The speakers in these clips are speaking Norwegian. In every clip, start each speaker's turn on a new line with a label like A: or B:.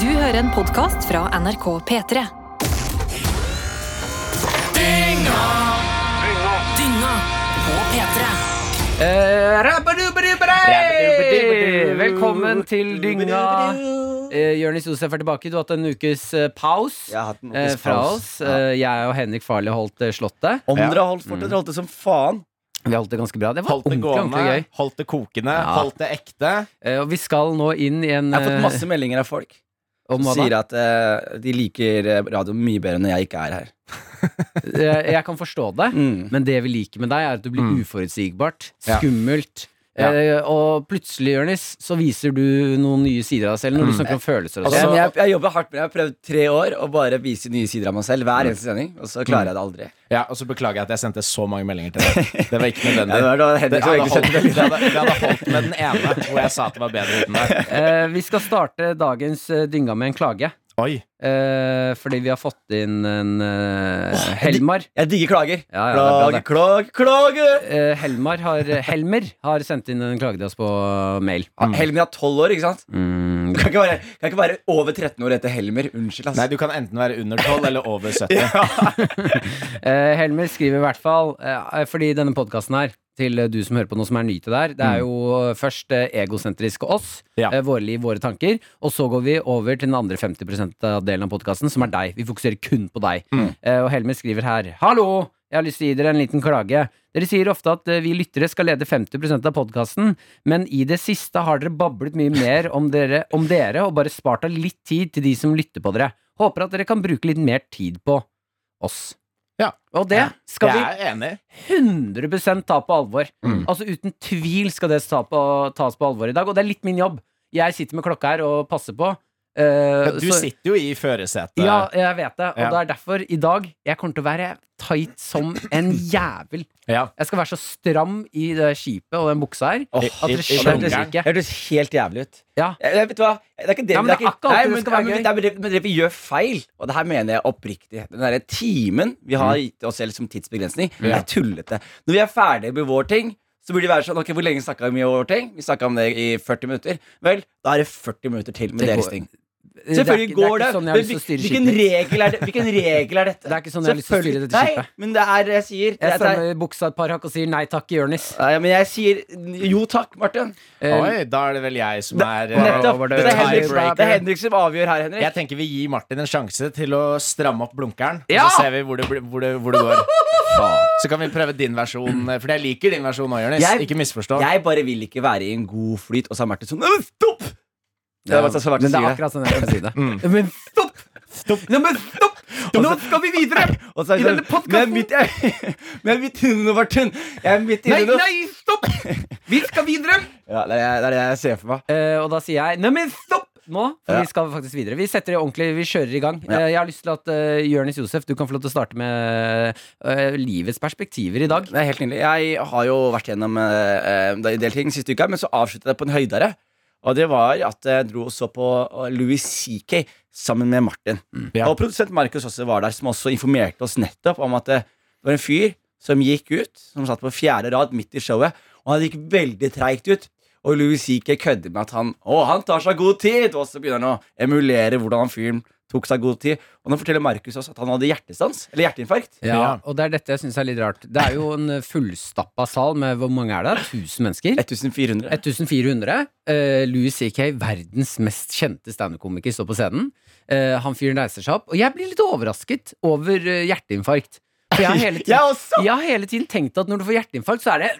A: Du hører en podkast fra NRK P3.
B: Eh, rabadubadubadei!
C: Rabadubadubadu.
B: Velkommen til dynga. Eh, Jørnis Josef er tilbake. Du har hatt en ukes eh, pause
C: Jeg har hatt en ukes
B: eh, fra
C: pause.
B: oss. Eh, jeg og Henrik Farley holdt eh, Slottet.
C: Om dere har holdt fortet, dere holdt det som faen.
B: Vi holdt det ganske bra. Det var
D: Holdt det
B: ordentlig, ordentlig
D: gående,
B: gøy.
D: holdt det kokende,
B: Ja.
D: holdt det ekte.
B: Eh, og vi skal nå inn i en
C: Jeg har fått
B: eh,
C: masse meldinger av folk
B: om
C: som
B: hva
C: sier
B: da?
C: at eh, de liker eh, radio mye bedre når jeg ikke er her.
B: Eh, jeg kan forstå det,
C: Mm.
B: men det vi liker med deg, er at du blir uforutsigbart.
D: Ja.
B: Skummelt.
D: Ja.
B: Eh, og plutselig, Jørnis, så viser du noen nye sider av deg selv når du
D: Mm.
B: snakker om følelser. og
C: Altså,
B: sånn.
C: men jeg, jeg jobber hardt med det. Jeg har prøvd tre år å bare vise nye sider av meg selv hver eneste sending, og så klarer jeg det aldri.
D: Ja, Og så beklager jeg at jeg sendte så mange meldinger til deg. Det var ikke nødvendig.
C: Ja, det var da Henrik
D: det,
C: som
D: hadde
C: egentlig
D: holdt,
C: sendte
D: det, hadde, det hadde holdt med den ene hvor jeg sa at det var bedre uten deg.
B: Eh, vi skal starte dagens eh, dynga med en klage.
D: Oi.
B: Eh, fordi vi har fått inn en eh, Helmar.
C: Jeg digger klager.
B: Ja, ja, det er bra,
C: klage,
B: det.
C: klage, klage!
B: Eh, Helmar har, Helmer har sendt inn en klage til oss på mail.
C: Ja, Helmer er tolv år, ikke sant?
B: Mm.
C: Du kan ikke være, kan ikke være over 13 år etter Helmer.
D: Nei,
C: Unnskyld, ass.
D: du kan enten være under 12 eller over 70.
B: Eh, Helmer skriver i hvert fall, eh, fordi denne podkasten her, til eh, du som hører på noe som er ny til der, det er jo eh, først eh, egosentrisk oss,
D: Ja.
B: eh, våre liv, våre tanker, og så går vi over til den andre 50 av delen av podkasten, som er deg. Vi fokuserer kun på deg.
D: Mm.
B: Eh, og Helmer skriver her, hallo! Jeg har lyst til å gi dere en liten klage. Dere sier ofte at eh, vi lyttere skal lede 50 av podkasten, men i det siste har dere bablet mye mer om dere, om dere og bare spart av litt tid til de som lytter på dere. Håper at dere kan bruke litt mer tid på oss.
D: Ja.
B: Og det skal
D: jeg er enig.
B: vi 100 ta på alvor.
C: Mm.
B: Altså Uten tvil skal det ta på, tas på alvor i dag, og det er litt min jobb. Jeg sitter med klokka her og passer på. eh,
D: Du
B: så-
D: sitter jo i førersetet.
B: ja, jeg vet det, og
D: Ja.
B: det er derfor i dag jeg kommer til å være tight som en jævel.
D: Ja.
B: Jeg skal være så stram i det skipet og den buksa her.
C: Åh,
B: Eh, At
D: I-
B: dere
D: i
B: skjønner
D: sjangeren.
B: ikke.
C: Det hørtes helt jævlig ut.
B: Ja.
C: Jeg, jeg, vet du hva? Det er ikke det,
B: Ja, men det er
C: ikke-
B: ikke alltid
C: Nei,
B: det
C: men-
B: skal være
C: ja, men
B: gøy.
C: det er bare- Men dere gjør feil, og det her mener jeg oppriktig. Den derre timen vi
B: Mm.
C: har gitt oss selv som tidsbegrensning, det
D: Ja.
C: er tullete. Når vi er ferdige med vår ting, så burde det være sånn Ok, hvor lenge snakka vi om vår ting? Vi snakka om det i 40 minutter. Vel, da er det 40 minutter til med
B: Det går-
C: deres ting.
B: er
C: Selvfølgelig
B: ikke- det er ikke
C: går det.
B: sånn jeg har
C: men
B: lyst til å
C: hvil-
B: styre
C: hvilken
B: skipet.
C: regel er det- Hvilken regel er dette?
B: Det er ikke sånn jeg har lyst til å styre dette
C: Selvfølgelig-
B: skipet.
C: Nei, men det er jeg sier.
B: Jeg
C: Jeg, jeg,
B: strammer buksa et par hakk og sier nei takk, Jonis.
C: nei, men jeg sier jo takk, Martin.
B: Eh,
D: Oi, da er det vel jeg som er eh,
C: Nettopp.
B: det
C: Det er Henrik,
D: tiebreaker.
C: det er Henrik som avgjør her, Henrik.
D: Jeg tenker vi gir Martin en sjanse til å stramme opp blunkeren.
B: Ja!
D: Og så ser vi hvor det, blir- hvor det, hvor det går. Så kan vi prøve din versjon, eh, for jeg liker din versjon nå, Jonis.
C: Jeg-
D: Ikke misforstå.
C: Jeg bare vil ikke være i en god flyt, og så er Martin sånn «Nei, men Stopp! Det er bare altså så
B: men
C: Martin
B: det er
C: sier det.
B: akkurat sånn jeg kan si det.
C: Men stopp! Stopp! Nei, men stopp! Nå skal vi videre! Og så er
B: I
C: det sånn,
B: denne podcasten-
C: Men jeg er midt i- men jeg er midt inne nå, Martin. Jeg er midt inne nå.
B: stopp! Vi skal videre!
C: Ja, det er det er det jeg ser for meg.
B: Eh, og da sier jeg nei, men stopp! Nå, for
C: Ja.
B: vi skal faktisk videre. Vi setter det ordentlig, vi kjører i gang. Eh, jeg har lyst til at uh, Jørnis Josef, du kan få lov til å starte med eh, livets perspektiver i dag.
C: Det er helt nydelig. Jeg har jo vært gjennom eh, eh, en del ting siste uka, men så avsluttet jeg på en høydere. Og det var at jeg dro og så på eh, Louis CK sammen med Martin.
D: Ja.
C: Og produsent Markus også var der, som også informerte oss nettopp om at eh, det var en fyr som gikk ut, som satt på fjerde rad midt i showet, og han gikk veldig treigt ut. Og Louis CK kødder med at han Å, han tar seg god tid! Og så begynner han å emulere hvordan han fyren tok seg god tid. Og nå forteller Markus også at han hadde hjertestans, eller hjerteinfarkt.
B: Ja,
D: Ja.
B: og det er dette jeg syns er litt rart. Det er jo en fullstappa sal med hvor mange er det? 1000 mennesker?
C: 1400.
B: 1400. Eh, Louis C.K., verdens mest kjente standup-komiker, står på scenen. Eh, han fyren reiser seg opp, og jeg blir litt overrasket over eh, hjerteinfarkt. For jeg har hele tiden,
C: Jeg også!
B: jeg har hele tiden tenkt at når du får hjerteinfarkt, så er det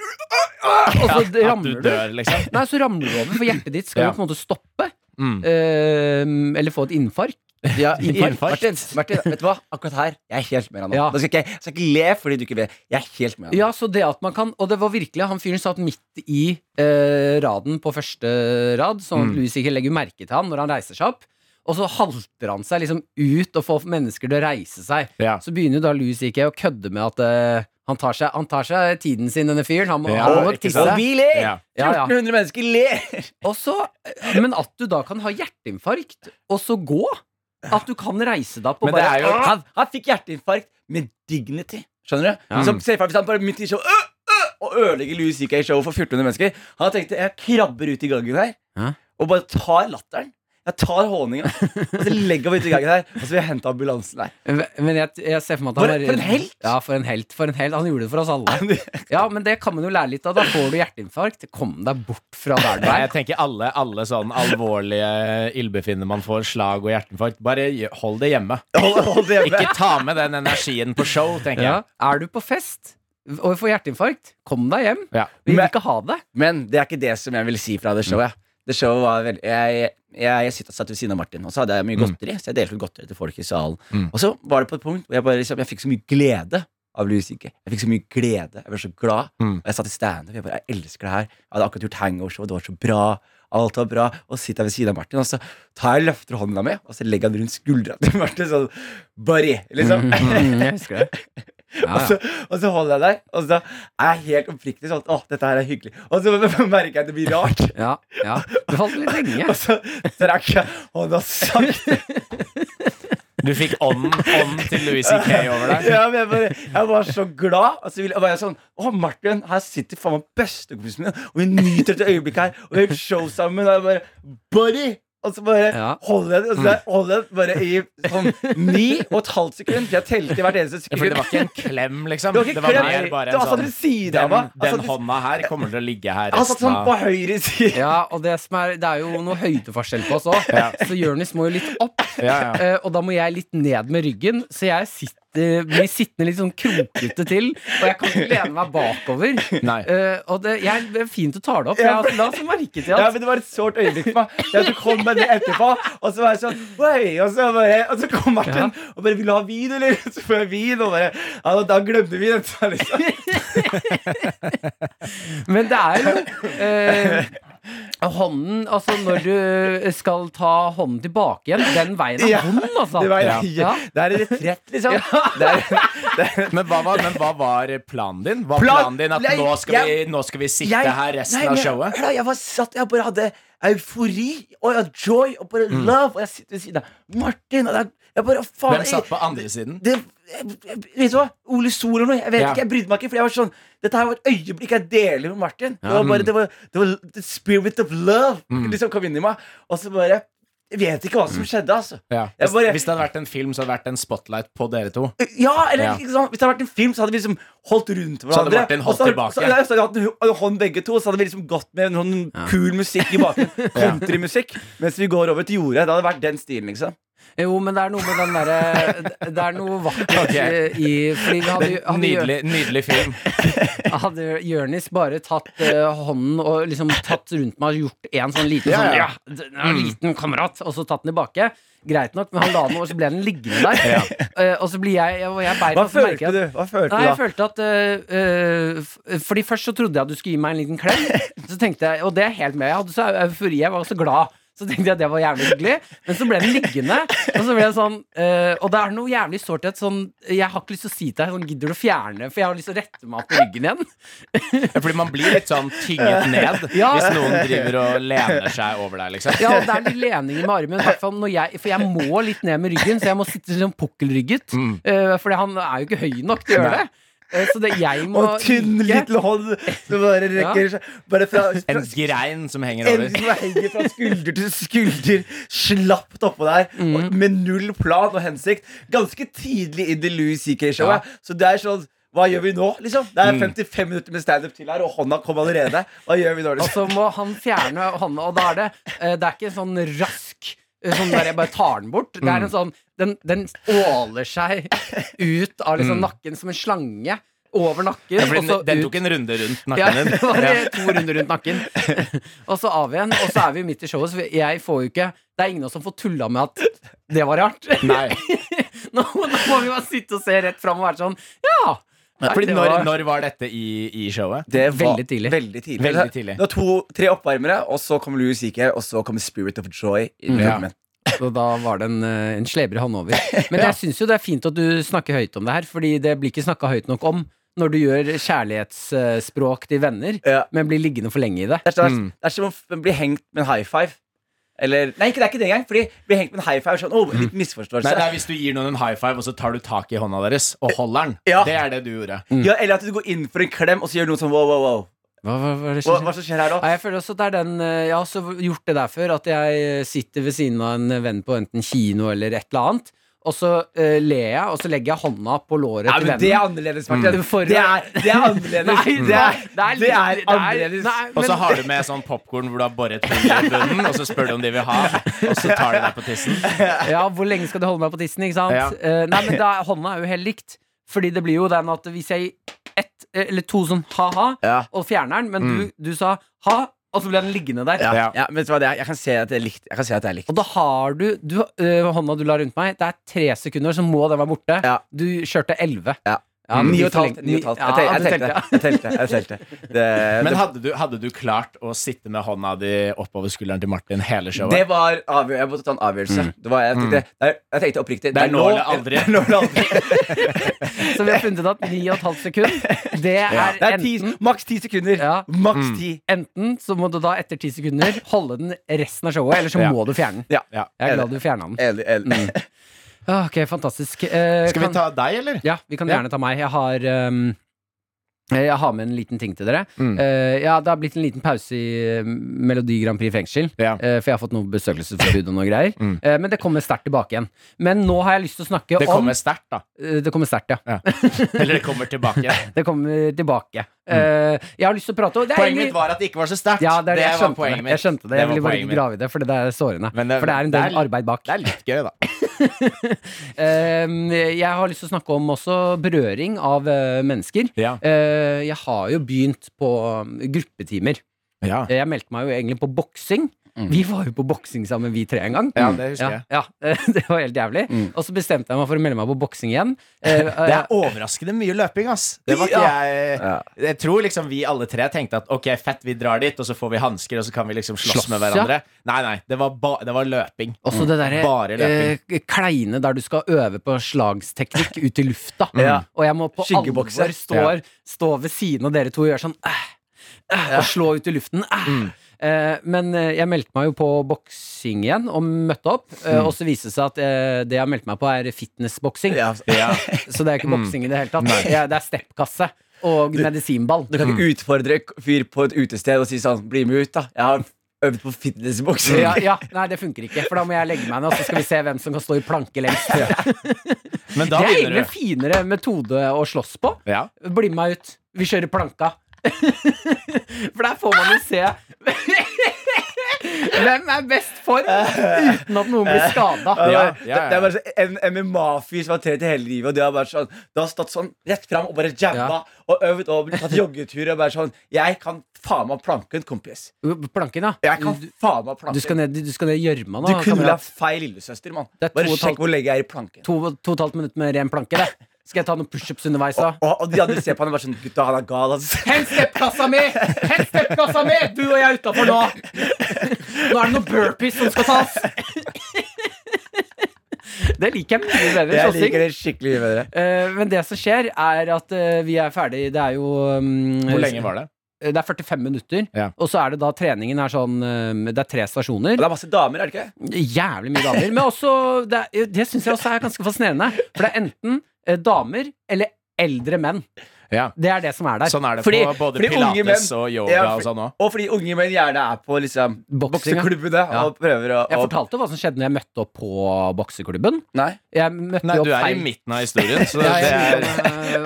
B: Og så
D: At du
B: ramler du.
D: dør, liksom.
B: Nei, så ramler du over, for hjertet ditt skal
D: Ja.
B: jo på en måte stoppe.
D: Mm.
B: eh, eller få et infarkt.
C: Ja,
B: Infarkt.
C: Martin, Martin, vet du hva? Akkurat her, jeg er helt med deg nå.
B: Ja.
C: Nå skal ikke, jeg skal ikke le fordi du ikke vet. Jeg er helt med deg. nå.
B: Ja, så det at man kan Og det var virkelig Han fyren satt midt i eh, raden på første rad, sånn at
D: Mm.
B: Louis ikke legger merke til han når han reiser seg opp. Og så halter han seg liksom ut og får mennesker til å reise seg.
D: Ja.
B: Så begynner jo da Louis ikke å kødde med at eh, han, tar seg, han tar seg tiden sin, denne fyren. Han må,
D: Ja,
B: han må
D: ikke
B: tisse.
D: sant?
C: Og vi ler!
D: Ja.
B: Ja, ja.
C: 1400 mennesker ler!
B: Og så, eh, men at du da kan ha hjerteinfarkt, og så gå. At du kan reise deg opp og
D: Men det
B: bare
D: er jo
C: Han, han fikk hjerteinfarkt med dignity. Skjønner du?
B: Ja.
C: Som ser for deg hvis han bare midt i show øh, øh, og ødelegger Louis CK-showet for 1400 mennesker. Han tenkte jeg krabber ut i gangen her
B: Ja.
C: og bare tar latteren. Jeg tar honninga, og så legger jeg meg uti gangen her, og så vil jeg hente ambulansen. Nei.
B: Men jeg, jeg ser for meg at han
C: For-
B: var-
C: for en helt!
B: Ja, for en helt, for en helt. Han gjorde det for oss alle. Ja, men det kan man jo lære litt av. Da får du hjerteinfarkt. Kom deg bort fra der du
D: Nei, jeg
B: er.
D: tenker alle, alle sånn alvorlige ildbefinnende man får, slag og hjerteinfarkt, bare gjø- hold det hjemme.
C: Hold, hold det hjemme.
D: Ikke ta med den energien på show, tenker
B: Ja.
D: jeg.
B: Er du på fest og får hjerteinfarkt, kom deg hjem.
D: Ja.
B: Vi vil
C: Men-
B: ikke ha det.
C: Men det er ikke det som jeg vil si fra det showet. Det showet var veldig Jeg, jeg, jeg sitt- satt ved siden av Martin, og så hadde jeg
B: Mm.
C: mye godteri. Så jeg delte ut godteri til folk i salen.
D: Mm.
C: Og så var det på et punkt hvor jeg bare liksom, Jeg fikk så mye glede av Louis Sikke. Jeg fikk så mye glede. Jeg ble så glad.
D: Mm.
C: Og jeg satt i standup. Jeg bare Jeg elsker det her. Jeg hadde akkurat gjort hangover-show. Det var så bra. Alt var bra. Og så sitter jeg ved siden av Martin, og så tar jeg løfter hånda mi, og så legger jeg den rundt skuldra til Martin sånn Barry, liksom.
B: Mm, jeg husker det. Ja,
C: Og,
B: ja.
C: så, og så holder jeg der, og så er jeg helt oppriktig sånn Å, dette her er hyggelig. Og så merker jeg at det blir rart.
B: ja, ja. Du falt litt lenge.
C: Og så strakk jeg hånda sakte.
D: Du fikk ånden ånden til Louis C.K. over deg.
C: Ja, men jeg, bare, jeg var så glad. Og så ville- var jeg sånn Å, Martin, her sitter faen meg bestekompisen min, og vi nyter dette øyeblikket her, og vi har gjort show sammen, og jeg bare Buddy! Og så bare
B: Ja.
C: holder jeg det, og
D: Mm.
C: så holder jeg det bare i sånn ni og et halvt sekund. For jeg telte hvert eneste
D: Ja,
C: sekund.
D: Fordi det var ikke en klem, liksom.
C: Det var ikke klem.
D: mer
C: Altså,
D: bare
C: Det
D: en
C: var satt ved
D: sånn
C: siden av
D: den,
C: meg. Han
D: den
C: satt-
D: hånda her kommer til å ligge her
C: Han satt
D: resten
C: sånn på
D: av
C: høyre side.
B: Ja, og det, som er, det er jo noe høydeforskjell på oss òg.
D: Ja.
B: Så Jonis må jo litt opp,
D: Ja, ja.
B: eh, og da må jeg litt ned med ryggen. Så jeg sitter, blir sittende litt sånn krokete til, og jeg kan ikke lene meg bakover.
D: Nei.
B: Eh, og det, jeg, det er fint du tar det opp. Jeg har la oss merke til
C: Ja,
B: at
C: men Det var et sårt øyeblikk for meg. Jeg tok hånd med det etterpå, og så var jeg sånn Oi! Og så, bare, og så kom Martin og bare 'Vil du ha vin, eller?' Så får jeg vin, og bare Ja, da glemte vi dette. her, Liksom.
B: Men det er jo eh, Hånden, altså når du skal ta hånden tilbake igjen, den veien
C: Ja.
B: er vond, altså.
C: Det, var,
B: Ja.
C: det er en retrett, liksom. Det er,
D: Men hva, var, men hva var planen din? Var
C: Plan-
D: planen din at
C: Nei,
D: nå skal, vi, nå skal vi sitte her
C: nei,
D: resten
C: men
D: av
C: jeg-
D: showet?
C: hør da, jeg var satt, jeg bare hadde eufori og jeg hadde joy og bare
D: Mm.
C: love, og jeg sitter ved siden av Martin, og det er- jeg bare faen
D: Hvem
C: jeg-
D: satt på andre siden?
C: det, jeg, jeg, vet du hva? Ole Sol eller noe. Jeg vet
D: Ja.
C: ikke, jeg brydde meg ikke. For jeg var sånn Dette her var et øyeblikk jeg deler med Martin. Det var
D: mm.
C: bare det var, det var the spirit of love liksom kom inn i meg. Og så bare Jeg vet ikke hva som skjedde, altså.
D: Mm. Ja.
C: Jeg
D: Hvis,
C: bare-
D: hvis det hadde vært en film, så hadde det vært en spotlight på dere to.
C: Ja, eller
D: Ja.
C: Ikke sant? Hvis det hadde vært en film, så hadde vi liksom holdt rundt
D: Så
C: hverandre.
D: hadde Martin holdt
C: og så,
D: tilbake.
C: Så, ja, så hadde vi hatt en hånd begge to, og så hadde vi liksom gått med noen kul musikk i bakgrunnen. Countrymusikk. Mens vi går over til jordet. Det hadde vært den stilen, liksom.
B: Jo, men det er noe med den derre Det er noe vakkert
D: Ok.
B: eh, i Fordi vi hadde, hadde,
D: Nydelig, nydelig film.
B: hadde Jørnis bare tatt eh, hånden og liksom tatt rundt meg og gjort en sånn liten
D: Ja,
B: sånn
D: ja.
B: Ja, den er en
C: Mm.
B: liten kamerat, og så tatt den tilbake. Greit nok, men han la den over, så ble den liggende der. Eh, og så blir jeg Og jeg beit
C: Hva
B: og så merker jeg
C: følte
B: at-
C: du? Hva følte
B: Nei, jeg
C: du da?
B: følte at øh, øh, f- Fordi først så trodde jeg at du skulle gi meg en liten klem. Så tenkte jeg, Og det er helt med. Jeg hadde så eufori, jeg var så glad. Så tenkte jeg at det var jævlig hyggelig. Men så ble den liggende. Og så ble jeg sånn øh, Og det er noe jævlig sårt i et sånn Jeg har ikke lyst til å si til deg sånn Gidder du å fjerne? For jeg har lyst til å rette meg opp på ryggen igjen.
D: Fordi man blir litt sånn tynget ned
B: Ja.
D: hvis noen driver og lener seg over deg, liksom.
B: Ja, og det er litt leninger med armen. i hvert fall når jeg, for jeg må litt ned med ryggen, så jeg må sitte sånn pukkelrygget. Mm. for han er jo ikke høy nok til å gjøre det. Eh, så det jeg må
C: Og tynn,
B: like-
C: liten hånd som bare rekker seg Bare fra,
D: En
C: fra
D: grein som henger
C: en
D: over.
C: som henger fra skulder til skulder, slapt oppå der, og med null plan og hensikt. Ganske tidlig i The Louis CK-showet. Så det er sånn Hva gjør vi nå? liksom? Det er 55 minutter med standup til her, og hånda kom allerede. Hva gjør vi nå?
B: Og
C: liksom?
B: så må han fjerne hånda, og da er det eh, Det er ikke sånn rask eh, Sånn der jeg bare tar den bort. Det
D: Mm.
B: er en sånn Den, den åler seg ut av liksom nakken som en slange. Over nakken.
D: Mm. Ja, fordi
B: og så
D: den, den
B: ut-
D: tok en runde rundt
B: ja,
D: nakken
B: det
D: din.
B: var
D: Ja.
B: to runder rundt nakken. Og så av igjen. Og så er vi midt i showet, så jeg får jo ikke Det er ingen av oss som får tulla med at det var rart.
D: Nei.
B: Nå, nå må vi bare sitte og se rett fram og være sånn Ja! Nei,
D: Fordi
B: det
D: når,
B: var-
D: når var dette i, i showet?
C: Det var
B: Veldig tidlig.
C: Veldig tidlig.
D: Veldig tidlig.
C: Det var to-tre oppvarmere, og så kom Louis CK, og så kom Spirit of Joy. inn i
D: Ja.
C: filmen.
B: Så da var det en, eh, en slebre hånd over. Men jeg syns jo det er fint at du snakker høyt om det her, fordi det blir ikke snakka høyt nok om når du gjør kjærlighetsspråk til venner,
C: Ja.
B: men blir liggende for lenge i det.
C: Det er, sånn,
D: Mm.
C: det er som om bli hengt med en high five. Eller, nei, ikke, det er ikke det engang. Fordi bli hengt med en high five er sånn, oh, litt misforståelse.
D: Nei, det er Hvis du gir noen en high five, og så tar du tak i hånda deres og holder den.
C: Ja.
D: Det er det du gjorde.
B: Mm.
C: Ja, eller at du går inn for en klem, og så gjør noen sånn wow, wow, wow.
B: Hva, hva, hva er det som
C: Hva,
B: skjer?
C: hva som skjer her
B: Nei,
C: nå?
B: jeg føler også at det er den eh, Jeg har også gjort det der før, at jeg eh, sitter ved siden av en venn på enten kino eller et eller annet, og så eh, ler jeg, og så legger jeg hånda på låret
C: Nei,
B: til
C: men
B: vennen.
C: det er annerledes, Martin.
B: Mm. For-
C: Det er, det er annerledes.
B: Nei,
C: det er, det er Altså-
B: litt-
C: annerledes.
B: nei,
D: Og så
B: men-
D: har du med sånn popkorn hvor du har boret hull i bunnen, og så spør du om de vil ha, og så tar de deg på tissen.
B: Ja, hvor lenge skal du holde meg på tissen, ikke sant?
D: Ja.
B: Eh, nei, men da, hånda er jo helt likt. Fordi det blir jo den at hvis jeg gir ett eh, eller to sånn ha-ha,
C: Ja. Mm.
B: og fjerner den, men du, du sa ha, og så ble den liggende der.
C: Ja, ja, men vet du hva, det er, jeg kan se at det er likt. Jeg kan se at det er likt.
B: Og da har du, du eh, hånda du la rundt meg, det er tre sekunder, så må den være borte.
C: Ja.
B: Du kjørte elleve.
C: Ja.
B: men
C: Ni
B: du
C: og et
B: forlengte-
C: halvt. ni og et halvt.
B: Ja,
C: Jeg
B: du
C: telte.
B: telte, ja.
C: Jeg telte. Jeg telte. Det,
D: Men
C: det,
D: hadde du, hadde du klart å sitte med hånda di oppover skulderen til Martin hele showet?
C: det var avgjørelse. Jeg måtte ta en avgjørelse. Det var, jeg, tenkte, det er- jeg tenkte oppriktig
D: Det er nå eller aldri.
C: Det er nå eller aldri.
B: Så vi har funnet ut at ni og et halvt sekund, det er,
C: Det er ti,
B: enten
C: maks ti sekunder.
B: Ja.
C: Maks ti.
B: Enten så må du da etter ti sekunder holde den resten av showet, eller så
D: Ja.
B: må du fjerne den.
C: Ja.
D: Ja.
B: Jeg er glad du fjerna den.
C: Enig, enig.
B: Mm. Ah, Ok, fantastisk. Eh,
D: Skal
B: kan-
D: vi ta deg, eller?
B: Ja, vi kan
D: Ja.
B: gjerne ta meg. Jeg har, ehm, jeg har med en liten ting til dere.
D: Mm.
B: Eh, ja, Det har blitt en liten pause i eh, Melodi Grand Prix fengsel.
D: Ja.
B: eh, for jeg har fått noe besøkelsesforbud og noe greier.
D: Mm.
B: Eh, men det kommer sterkt tilbake igjen. Men nå har jeg lyst til å snakke
D: Det
B: om
D: kommer sterkt, da.
B: Eh, Det kommer sterkt, ja.
D: Eller det kommer tilbake.
B: Det kommer tilbake. Eh, jeg har lyst til å prate om det er
D: Mm. Poenget
B: egentlig-
D: mitt var at det ikke var så sterkt.
B: ja, det, er det, jeg
D: var
B: skjønte
D: poenget
B: det.
D: mitt.
B: Jeg skjønte det. Jeg
D: var
B: ville bare
D: poenget
B: ikke
D: mitt.
B: grave i det, for det er sårende.
D: Men det-
B: for det er en
D: det er
B: del
D: litt-
B: arbeid bak.
D: Det er litt gøy, da.
B: Eh, jeg har lyst til å snakke om også berøring av eh, mennesker.
D: Ja.
B: Eh, jeg har jo begynt på um, gruppetimer.
D: Ja.
B: Eh, Jeg meldte meg jo egentlig på boksing.
D: Mm.
B: Vi var jo på boksing sammen, vi tre en gang.
D: ja, det husker jeg.
B: Ja, ja. det var helt jævlig. Og så bestemte jeg meg for å melde meg på boksing igjen. Eh, eh,
D: Mm. Det er overraskende mye løping, ass. Det var ikke jeg
C: Ja.
D: Jeg tror liksom vi alle tre tenkte at ok, fett, vi drar dit, og så får vi hansker, og så kan vi liksom slåss
B: Slåss,
D: med hverandre. Nei, nei, det var, ba det var løping.
B: også det
D: Bare
B: derre
D: løping.
B: eh, kleine der du skal øve på slagsteknikk ut i lufta.
D: Mm.
C: Ja.
B: Og jeg må på
C: Skyggebokse.
B: alvor stå, stå ved siden av dere to og gjøre sånn eh, eh, Og slå ut i luften. Eh.
C: Mm.
B: Eh, men eh, jeg meldte meg jo på boksing igjen, og møtte opp. eh,
C: Mm.
B: Og så viste det seg at eh, det jeg meldte meg på, er fitnessboksing.
C: Ja. altså.
B: Så det er ikke
D: Mm.
B: boksing i det hele tatt. Ja, det er steppkasse og medisinball.
C: Du kan ikke utfordre en fyr på et utested og si sånn Bli med ut, da. Jeg har øvd på fitnessboksing.
B: Ja, ja, nei, det funker ikke, for da må jeg legge meg ned, og så skal vi se hvem som kan stå i planke lengst.
D: Men
B: Det
D: da
B: er egentlig
D: begynner
B: en
D: du.
B: finere metode å slåss på.
D: Ja.
B: Bli med meg ut. Vi kjører planka. For der får man jo se hvem er best form uten at noen blir skada.
C: Ja,
D: Ja, ja,
C: det-
D: ja.
C: Det er bare så, en MMA-fyr som har trent i hele livet, og det har bare sånn Det har stått sånn rett fram og bare jabba og øvd og blitt tatt joggetur og bare sånn Jeg kan faen meg planken, kompis.
B: Planken, ja.
C: Jeg kan faen meg planken.
B: Du skal ned du skal ned i gjørma
C: Du
B: nå.
C: kunne la
B: kamerat.
C: feil lillesøster, mann.
B: Det er to
C: Bare
B: og et halvt-
C: sjekk hvor lenge jeg er i planken.
B: To, to og et halvt minutt med ren planke, det. Skal jeg ta noen pushups underveis, da?
C: Og, og de andre ser på han og bare sånn Gutta, han er gal, ass.
B: Hent steppkassa mi! Hent steppkassa mi! Du og jeg er utafor nå. Nå er det noen burpees som skal tas. Det liker jeg mye bedre.
C: Jeg
B: slåssing.
C: liker det skikkelig mye bedre.
B: Eh, men det som skjer, er at eh, vi er ferdig. Det er jo um,
D: Hvor lenge var det?
B: Det er 45 minutter.
D: Ja.
B: Og så er det da treningen er sånn eh, Det er tre
C: Og
B: stasjoner.
C: det er masse damer, er det ikke?
B: Jævlig mye damer. Men også Det, er- det syns jeg også er ganske fascinerende. For det er enten eh, damer eller eldre menn.
D: Ja.
B: Det er det som er der.
D: Sånn er det
C: Fordi-
D: på både
C: fordi unge
D: pilates
C: menn-
D: og yoga
C: Ja,
D: og sånn òg.
C: Og fordi unge menn gjerne er på liksom
B: Boksing, ja.
C: bokseklubbene
B: Ja.
C: og prøver å
B: Jeg
C: og-
B: fortalte hva som skjedde når jeg møtte opp på bokseklubben.
C: Nei.
B: Jeg møtte
D: Nei,
B: jo opp
D: du er i
B: feil.
D: midten av historien, så det
B: Ja, jeg
D: er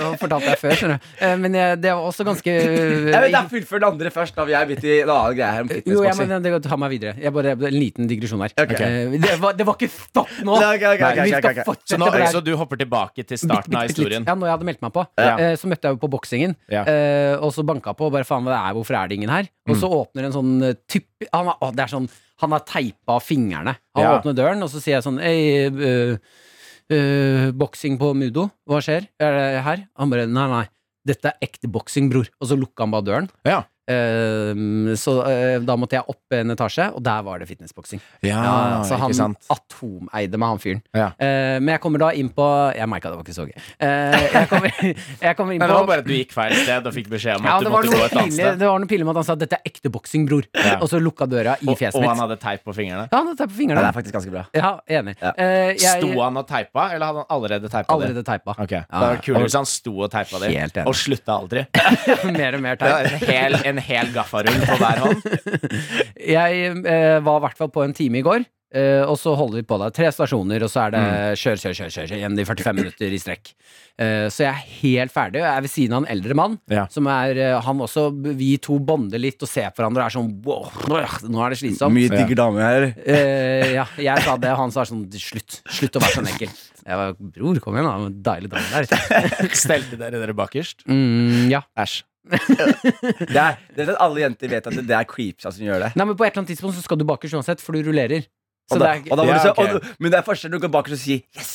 B: eh, fortalte jeg før, skjønner du. Eh, Men jeg, det var også ganske
C: Jeg vet, jeg fullfører det andre først, da vi er midt i en annen greie her om
B: Eh, Jo, jeg,
C: fitnessboksing.
B: men, det, ta meg videre. Jeg bare, en liten digresjon her.
C: Ok.
B: Eh, Det, var, det var ikke stopp nå!
C: Nei, ok, ok, ok,
B: Vi skal
C: ok, ok.
B: fortsette
D: Så, nå,
B: på det her.
D: så du hopper tilbake til
B: Bitte,
D: starten av
B: bitte litt.
D: historien.
B: Ja, når jeg hadde meldt meg på.
D: Ja.
B: Eh, Så møtte jeg jo på boksingen,
D: Ja. Mm.
B: eh, og så banka på. og Bare faen, hva det er, hvorfor er det ingen her? Og så åpner en sånn eh, typ Han har- å, det er sånn, han har teipa fingrene. Han
D: Ja.
B: åpner døren, og så sier jeg sånn Ei, eh, eh, boksing på Mudo, hva skjer? Er det her? Han bare Nei, nei. Dette er ekte boksing, bror. Og så lukka han bare døren.
D: Ja.
B: Eh, så eh, da måtte jeg opp en etasje, og der var det fitnessboksing.
D: Ah,
B: Ja, så han atomeide meg, han fyren.
D: Ja.
B: Eh, men jeg kommer da inn på Jeg merka det var ikke så gøy. Eh, jeg, kommer, jeg kommer inn
D: Nei,
B: på
D: det var bare at du gikk feil sted og fikk beskjed om
B: ja,
D: at
B: det,
D: du
B: var
D: måtte gå
B: noe
D: et annet
B: pinlig,
D: sted.
B: det var noe pinlig med at han sa 'dette er ekte boksing, bror',
D: Ja.
B: og så lukka døra i
D: Og,
B: fjeset
D: og han
B: mitt.
D: hadde teip på fingrene.
B: Ja, han hadde teipa
C: Ja, det
B: fingrene.
C: er faktisk ganske bra.
B: Ja, enig.
C: Ja.
B: Eh, jeg
D: Sto han og teipa, eller hadde han allerede teipa det?
B: allerede teipa.
D: Ok,
B: Ja,
D: Det
B: ja.
D: var kulere hvis han sto og teipa det,
B: Helt enig.
D: og slutta aldri.
B: mer og mer
D: Det
B: teip.
D: er en hel, en en hel gaffarull på hver hånd.
B: Jeg eh, var i hvert fall på en time i går, eh, og så holder vi på da. Tre stasjoner, og så er det
C: Mm.
B: kjør, kjør, kjør, kjør, kjør igjen i 45 minutter i strekk. Eh, så jeg er helt ferdig, og jeg er ved siden av en eldre mann.
D: Ja.
B: Som er, eh, han også, Vi to bonder litt og ser på hverandre og er sånn wow, Nå er det slitsomt.
C: Mye digger damer her.
B: Eh, ja, jeg sa det, og han sa sånn Slutt slutt å være sånn ekkel. Jeg var, Bror, kom igjen, da. det var en Deilig dag der.
D: Stelte dere dere bakerst?
B: Mm, ja.
D: Æsj.
C: Det er, det er at alle jenter vet at det er creepsa som gjør det.
B: Nei, men På et eller annet tidspunkt så skal du bakerst uansett, for du rullerer. Så
C: Og
B: det
C: da,
B: er,
C: og da må
D: Ja,
C: du se,
D: ok.
C: og, men det er forskjell når du går bak og sier 'yes'.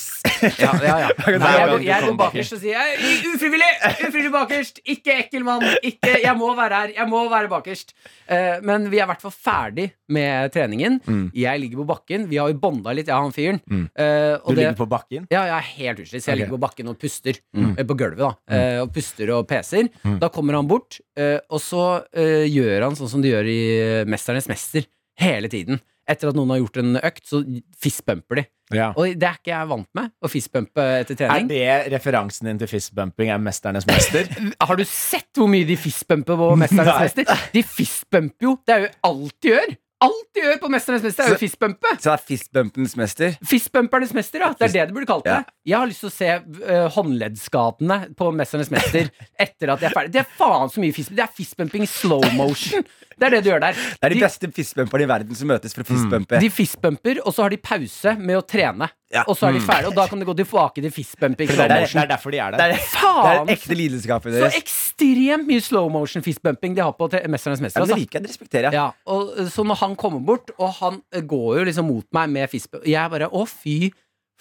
B: ja, ja, ja. Nei,
D: Nei,
B: jeg,
D: men
B: går,
D: du
B: jeg
D: kom
B: går bakerst og sier jeg, ufrivillig! Ufrivillig bakerst! Ikke ekkel mann! Ikke, jeg må være her! Jeg må være bakerst! Eh, men vi er i hvert fall ferdig med treningen.
D: Mm.
B: Jeg ligger på bakken. Vi har jo bonda litt, jeg og han fyren.
D: Mm.
B: Eh,
D: Du
B: og det,
D: ligger på bakken?
B: ja, jeg er helt utslitt. Så jeg
D: Ok.
B: ligger på bakken og puster.
C: Mm.
B: eh, På gulvet, da. eh, Og puster og peser.
D: Mm.
B: Da kommer han bort, eh, og så eh, gjør han sånn som de gjør i eh, Mesternes mester. Hele tiden. Etter at noen har gjort en økt, så fistbumper de.
D: Ja.
B: Og det er ikke jeg vant med, å fistbumpe etter
D: Er
B: trening.
D: det referansen din til fistbumping er Mesternes mester?
B: Har du sett hvor mye de fistbumper på Mesternes
D: Nei.
B: mester? De fistbumper jo. Det er jo alt de gjør. Alt de gjør på Mesternes mester, er jo
C: Så-
B: fistbumpe.
C: Så det er fistbumpens mester.
B: Fistbumpernes mester, ja. Det er det du burde kalt det.
C: Ja.
B: Jeg har lyst til å se eh, håndleddsskadene på Mesternes mester etter at jeg er ferdig. Det er faen så mye fistbumping. Det er fistbumping i slow motion. Det er det du gjør der.
C: Det er de
B: De- Mm.
C: beste fistbumperne i verden som møtes for å fistbumpe.
B: De fistbumper, og så har de pause med å trene.
C: Ja. Mm.
B: Og så er de ferdige, og da kan de gå tilbake til fistbumping.
D: Det er, der- det er derfor de er
C: Det
D: der.
C: er, det er
B: Faen!
C: den ekte lidenskapen
B: Så
C: deres.
B: ekstremt mye slow motion fistbumping de har på te- Mesternes
C: Ja,
B: mester.
C: men det
B: Altså.
C: liker jeg, det respekterer jeg.
B: Ja, og, eh, så når han kommer bort, og han eh, går jo liksom mot meg med fistbump Jeg bare å, fy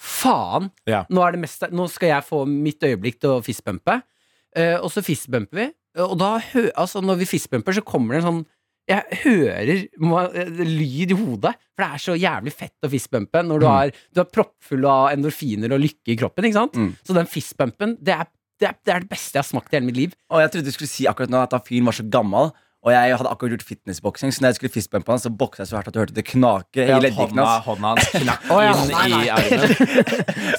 B: faen!
D: Ja.
B: Nå, er det mest, nå skal jeg få mitt øyeblikk til å fistbumpe. Eh, og så fistbumper vi, og da hø, altså, når vi fistbumper, så kommer det en sånn jeg hører må- eh, lyd i hodet, for det er så jævlig fett å fistbumpe når du,
D: Mm.
B: er, du er proppfull av endorfiner og lykke i kroppen. Ikke sant?
C: Mm.
B: Så den fistbumpen, det er, det, er, det er det beste jeg har smakt i hele mitt liv.
C: Og jeg trodde du skulle si akkurat nå at han fyren var så gammel. Og jeg hadde akkurat gjort fitnessboksing, så når jeg skulle fistbumpe han, så boksa jeg så hardt at du hørte det knake i leddgikten
D: hånda,
C: hans.
D: hånda hans knakk
B: Å, ja,
D: inn
B: nei, nei.
D: i armen.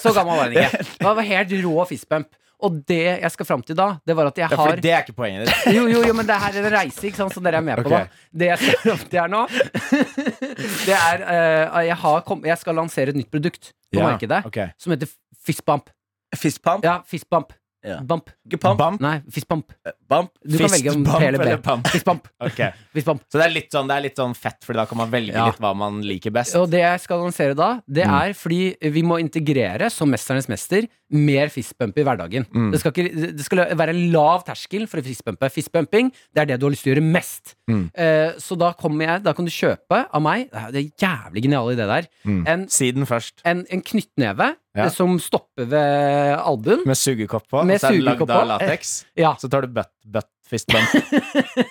B: Så gammel var den ikke. Det var helt rå fistbump. Og det jeg skal fram til da, det var at jeg
D: Ja, for
B: har
D: det er ikke poenget ditt.
B: Jo, jo, jo, men det her er en reise, ikke sant, som dere er med på
D: Ok.
B: da. Det jeg skal fram til her nå, det er eh, jeg, har kom, jeg skal lansere et nytt produkt på
D: Ja,
B: markedet
D: ok.
B: som heter fistbump.
C: Fistpump.
B: Ja, fistbump.
C: Ja.
B: Bump.
C: Ikke pump.
D: Bump,
B: Nei, fistbump.
C: Bump.
B: Du kan velge om
D: fistbump
B: P eller
D: eller
B: B.
D: pump.
B: Fistbump.
D: Ok.
B: fistbump.
D: Så det er litt sånn, det er litt sånn fett, Fordi da kan man velge
B: Ja.
D: litt hva man liker best.
B: Og det jeg skal lansere da, det er fordi vi må integrere, som Mesternes mester, mer fistbump i hverdagen.
D: Mm.
B: Det, skal ikke, det skal være en lav terskel for å fistbumpe. Fistbumping, det er det du har lyst til å gjøre mest.
D: Mm.
B: Eh, så da kommer jeg, da kan du kjøpe av meg, det er jævlig genial idé der,
D: Mm.
B: en,
D: Siden først.
B: en, en knyttneve
D: Ja.
B: eh, som stopper ved albuen.
D: Med sugekopp på.
B: Med
D: så er den lagd
B: sugekopp
D: av
B: på.
D: lateks.
B: Ja,
D: Så tar du butt, butt fist bump.
B: det,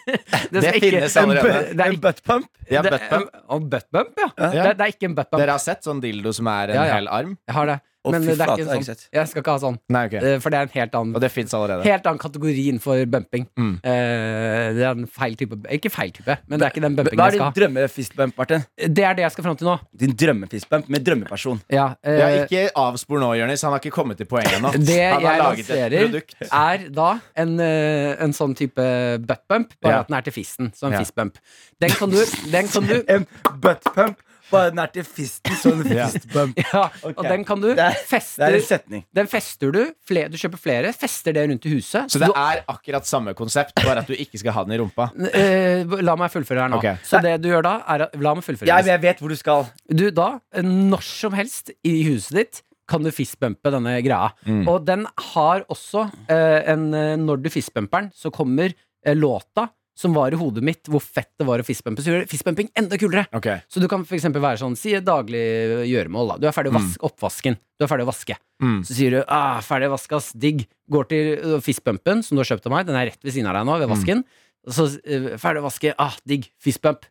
D: Det
B: skal ikke-
D: finnes allerede.
B: Det er
C: En
B: ikke,
C: buttpump.
D: De har
B: det-
D: butt bump.
B: Og buttbump, ja.
D: Ja.
B: Det, det er ikke en buttbump.
D: Dere har sett sånn dildo som er en
B: Ja, ja.
D: hel arm?
B: Jeg har det.
C: Å,
B: Men
C: fy
B: det er
C: flate,
B: ikke
C: det har
B: en sånn.
C: jeg ikke sett.
B: Jeg skal ikke ha sånn,
D: Nei, ok.
B: eh, for det er en helt annen
D: Og det fins allerede.
B: Helt annen kategori innenfor bumping.
D: Mm.
B: Eh, det er en feil type Ikke feil type, men det er ikke den bumpingen
C: Hva
B: jeg
C: er
B: skal
C: din drømmefistbump, Martin?
B: ha. Det er det jeg skal fram til nå.
C: Din drømmefistbump med drømmeperson.
B: Ja, eh,
D: Ja, ikke avspor nå, Jonis. Han har ikke kommet til poenget ennå.
B: Det
D: Han har
B: jeg
D: laget et
B: lanserer,
D: produkt.
B: er da en, eh, en sånn type buttbump, bare
D: Ja.
B: at den er til fisten. Så en
D: Ja.
B: fistbump. Den kan du, den kan du
C: En buttpump. Bare den er til fisten, så en
D: Ja.
C: fistbump.
B: ja, Og
C: Ok.
B: den kan du
C: Det er- Det
B: feste
C: er en setning.
B: Den fester du. Flere, du kjøper flere, fester det rundt i huset.
D: Så det er akkurat samme konsept, bare at du ikke skal ha den i rumpa.
B: du, eh, la meg fullføre her nå.
D: Ok.
B: Så det du gjør da, er at La meg fullføre.
C: Jeg, jeg vet hvor du skal.
B: Du, da, når som helst i huset ditt kan du fistbumpe denne greia. Og den har også eh, en eh, Når du fistbumper den, så kommer eh, låta som var i hodet mitt, hvor fett det var å fistbumpe. Så gjør det fistbumping enda kulere.
D: Ok,
B: Så du kan for eksempel være sånn, si et daglig gjøremål, da. Du er
C: Mm.
B: ferdig å vaske oppvasken. Du er ferdig å vaske.
D: Mm.
B: Så sier du ah, 'ferdig vaska, ass, digg'. Går til øh, fistpumpen, som du har kjøpt av meg, den er rett ved siden av deg nå,
C: Mm.
B: ved vasken. Så øh, 'ferdig å vaske, ah, digg, fistpump'.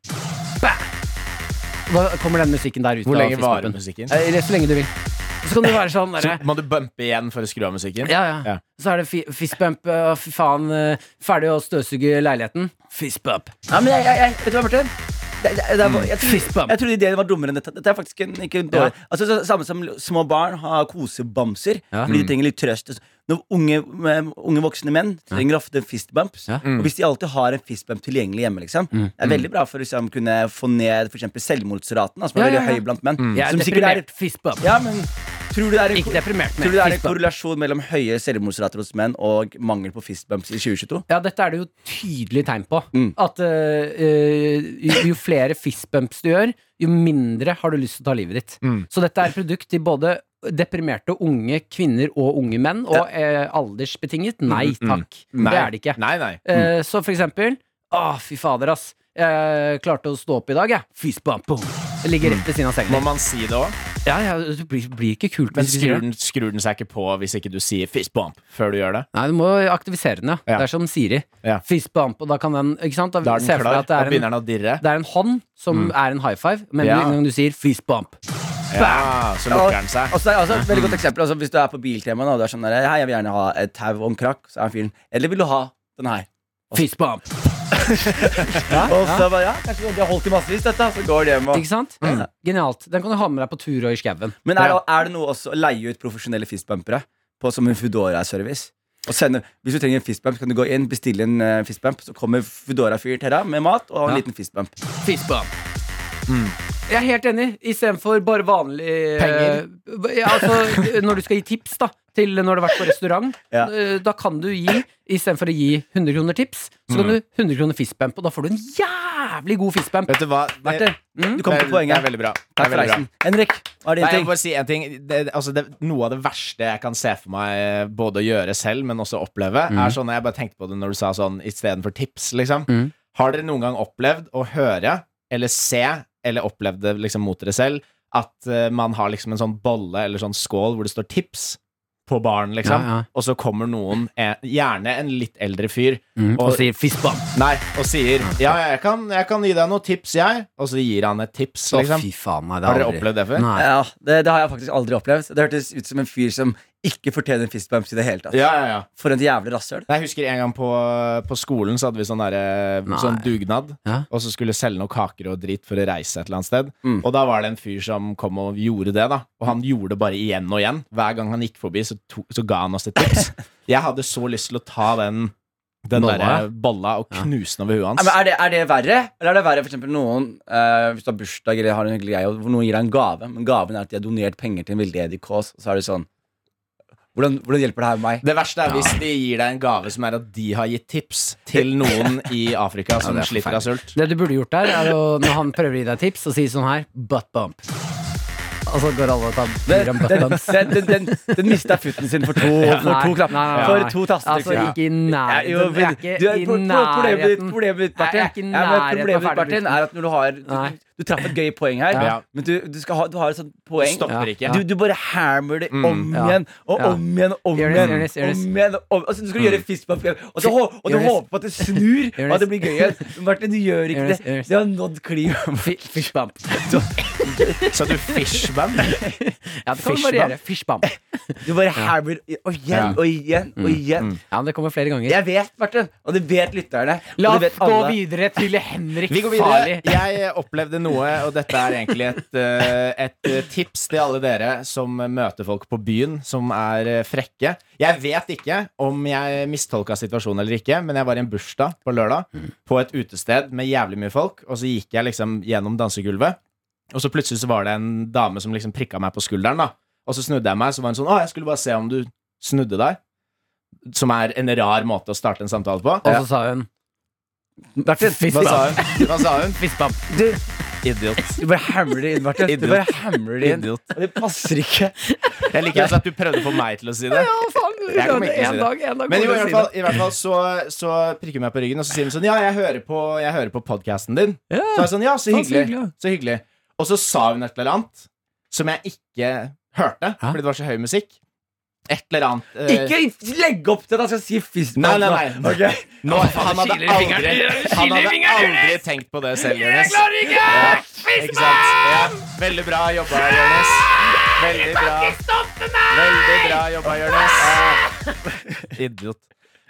B: Bah! Da kommer den musikken der ut
D: Hvor
B: av
D: lenge varer
B: fistpumpen.
D: musikken?
B: Eh, Så lenge du vil. Så kan du være sånn
D: Så
B: derre
D: må du bumpe igjen for å skru av musikken?
B: ja, ja,
D: Ja.
B: Så er det fi fistbump, øh, fy faen. øh, Ferdig å støvsuge leiligheten. Fistbump.
C: Ja, men jeg, jeg, jeg, vet du hva, Martin? det, det, det, er- jeg,
B: Fist
C: trodde,
B: bump.
C: jeg trodde ideen var dummere enn dette. Dette er faktisk en, ikke en dårlig Altså, så, Samme som små barn har kosebamser,
B: Ja. Mm.
C: fordi de trenger litt trøst. Når unge, eh, unge voksne menn trenger ofte fistbumps.
B: Ja. Mm.
C: Og hvis de alltid har en fistbump tilgjengelig hjemme, liksom, det er veldig bra for å liksom, kunne få ned for eksempel selvmordsraten, da, som er
B: Ja, ja,
C: veldig
B: Mm. ja.
C: høy blant menn.
B: Jeg er
C: Som sikkert er-
B: deprimert. Fist bump.
C: Ja, men tror du det er en,
B: Ikke deprimert, men
C: tror du det er en
B: fistbump.
C: korrelasjon mellom høye selvmordsrater hos menn og mangel på fistbumps i 2022?
B: Ja, dette er det jo tydelig tegn på.
C: Mm.
B: At eh, eh, jo, jo flere fistbumps du gjør, jo mindre har du lyst til å ta livet ditt.
D: Mm.
B: Så dette er et produkt til både deprimerte unge kvinner og unge menn, og eh, aldersbetinget nei
D: Mm, mm.
B: takk. Det er det ikke.
D: Nei, Mm. nei.
B: Eh, så for eksempel Å, fy fader, ass. Jeg klarte å stå opp i dag, jeg. Fistbump. boom. Jeg Ligger rett ved siden av senga.
D: Må man si det òg?
B: Ja, ja, det blir, blir ikke kult
D: Mm. Men
B: hvis du sier det.
D: skrur den, skrur den seg ikke på hvis ikke du sier fist bump før du gjør det?
B: Nei, du må aktivisere den, ja.
D: Ja.
B: Det er som Siri.
D: Ja.
B: Fistbump, og da kan den Ikke sant? Da,
D: Da er
B: ser
D: den
B: jeg for meg
D: klar,
B: at det
D: da
B: er en-
D: begynner den å dirre.
B: Det er en hånd som er en high five, men
D: Ja.
B: med en gang du sier fist bump
D: Ja, så lukker den seg.
C: Og så er altså, et veldig godt eksempel altså, Hvis du er på biltema da, og du er sånn der, Hei, jeg vil gjerne ha et tau og en krakk Så er fyren Eller vil du ha den her
B: Fist bump,
C: Og så bare Ja, kanskje de har holdt i massevis dette Så går de hjem og
B: ikke sant? Genialt. Den kan du ha med deg på tur og i skauen.
C: Men er, det- er det noe også Å leie ut profesjonelle fistbumpere på, Som en Foodora-service Og sende Hvis du trenger en fistbump Så kan du gå inn Bestille en eh, fistbump Så kommer Foodora-fyr til deg Med mat Og en
B: Ja.
C: liten fistbump
B: Fist bump. Mm. Jeg er helt enig. Istedenfor bare vanlig eh, ja, altså, Når du skal gi tips da til når du har vært på restaurant,
C: Ja.
B: eh, da kan du gi istedenfor å gi 100 kroner tips, så kan du 100 kroner fist bump, og da får du en jævlig god fist bump.
D: Vet du hva? Det-
B: Marte, mm?
C: Du kom
D: det er-
C: på poenget.
D: Det er veldig bra. Det er
C: Takk for
D: veldig bra.
C: reisen Henrik Hva
D: Nei,
C: er din
D: jeg må
C: ting?
D: bare si en ting det, altså det, Noe av det verste jeg kan se for meg eh, Både å gjøre selv, men også oppleve Er sånn, jeg bare tenkte på det når du sa sånn I stedet for tips, liksom
B: Mm.
D: Har dere noen gang opplevd å høre Eller se, eller opplevd det liksom mot dere selv At eh, man har liksom en sånn bolle Eller sånn skål hvor det står tips På baren, liksom
B: Ja, ja.
D: Og så kommer noen, eh, gjerne en litt eldre fyr
B: Mm, og
D: og-
B: sier fist bump.
D: Nei, og sier Ja, jeg kan, jeg kan gi deg noen tips, jeg Og så gir han et tips,
B: Å,
D: liksom
B: fy faen, nei, det
D: Har dere
B: aldri-
D: opplevd det før?
B: Nei.
C: Ja, det, det har jeg faktisk aldri opplevd Det hørtes ut som en fyr som Ikke fortjener en fistbump i det hele tatt
D: Ja, ja, ja
C: For en jævlig rasshøl
D: Nei, Jeg husker en gang på, på skolen så hadde vi sånn, der,
B: Nei.
D: sånn dugnad.
B: Ja.
D: Og så skulle selge noen kaker og drit for å reise et eller annet sted.
C: Mm.
D: Og da var det en fyr som kom og gjorde det. da Og han gjorde det bare igjen og igjen. Hver gang han gikk forbi, så, to, så ga han oss et tips. Jeg hadde så lyst til å ta den, den
B: Bolla,
D: bolla.
B: ja.
D: bolla og knuse den over huet
C: Nei,
D: hans.
C: men er, det, er det verre? Eller er det verre for eksempel noen eh, Hvis du har bursdag eller har en hyggelig greie og Hvor noen gir deg en gave Men gaven er at de har donert penger til en veldedig kås Og så er det sånn Hvordan, hvordan hjelper det her meg?
D: Det verste er hvis de gir deg en gave som er at de har gitt tips til noen i Afrika som
B: det er
D: sliter av sult.
B: Det du burde gjort der, er å, når han prøver å gi deg tips, og sier sånn her butt bump. Og så går alle og tar gir ham butt
C: Den,
B: bumps.
C: den, den, den, den mista futten sin for to, for to klapp
B: nei, nei, nei.
C: For to
B: Altså,
C: tastetrykk
B: ikke i
C: Ja, jo,
B: nærheten.
C: men
B: Jeg
C: du
B: er
C: er-
B: ikke i
C: pro- pro- Problemet ditt,
B: nærheten.
C: problemet ditt,
B: Nei, jeg er
C: Martin,
B: ikke i
C: Ja, men
B: nærheten
C: problemet
B: av
C: ditt, Martin,
B: ferdigbrukt.
C: er at når du har
B: Nei.
C: Du, du traff et gøy poeng her,
B: Ja.
C: men du, du, skal ha, du har et sånt poeng.
D: Stopper
B: ikke.
C: Du, du bare hammer det
D: Mm.
C: om
B: Ja.
C: igjen og
B: Ja.
C: om igjen og om
B: Gjør det,
C: igjen.
B: gjør det, gjør det.
C: Om igjen og om, altså, du skal gjøre fistbump igjen, og, så hå- og du
B: Gjør det.
C: håper på at det snur,
B: Gjør
C: og
B: det.
C: at det blir gøy igjen. Men Martin, du gjør
B: Gjør
C: ikke
B: det,
C: det.
B: gjør det.
C: Du har nådd klimaet.
B: Fi- Fish bump.
D: Så du fishband?
B: Ja, det kan
D: Fish
B: variere. Fish bump.
C: Du bare hammer det og igjen og igjen og igjen.
B: Ja, men det kommer flere ganger.
C: Jeg vet, Martin, og det vet lytterne.
B: La
C: og det
B: oss
C: vet
B: gå
C: alle.
B: videre til Henrik
D: Vi går
B: Farli.
D: videre. Jeg opplevde noe, og dette er egentlig et, eh, et eh, tips til alle dere som møter folk på byen som er eh, frekke. Jeg vet ikke om jeg mistolka situasjonen eller ikke, men jeg var i en bursdag på lørdag på et utested med jævlig mye folk, og så gikk jeg liksom gjennom dansegulvet, og så plutselig så var det en dame som liksom prikka meg på skulderen, da. Og så snudde jeg meg, så var hun sånn Å, jeg skulle bare se om du snudde deg. Som er en rar måte å starte en samtale på.
B: Og så sa hun
C: Martin,
B: Fish
D: Hva sa
B: bump.
D: hun? Hva sa hun?
B: Fish bump.
C: du,
D: Idiot.
C: du bare hammer det inn, Martin. Du bare hammer det inn.
D: Idiot.
C: Og det passer ikke.
D: Jeg liker også at du prøvde å få meg til å si det.
B: Ja, faen.
D: Jeg kommer ikke til å si
B: En
D: det.
B: dag, en dag kommer
D: Men
B: du til
D: jo, i
B: å
D: hvert
B: si det.
D: fall, i hvert fall så, så prikker hun meg på ryggen, og så sier hun sånn Ja, jeg hører på, jeg hører på podkasten din.
B: Ja.
D: Så er jeg sånn, ja, så
B: Faen, så
D: hyggelig.
B: hyggelig,
D: Så hyggelig. Og så sa hun et eller annet som jeg ikke hørte, fordi det var så høy musikk. Et eller annet eh,
C: Ikke legg opp til at han skal si fist
D: Nei, nei, nei.
C: Ok.
D: nå, Han hadde
B: Kiler i
D: aldri,
B: fingeren. Kiler
D: han
B: i
D: hadde
B: fingeren,
D: aldri tenkt på det selv, Jonis.
B: ikke!
D: Ikke sant? Ja. Veldig bra jobba, Jonis. Veldig bra. Veldig bra jobba, Jonis. Idiot.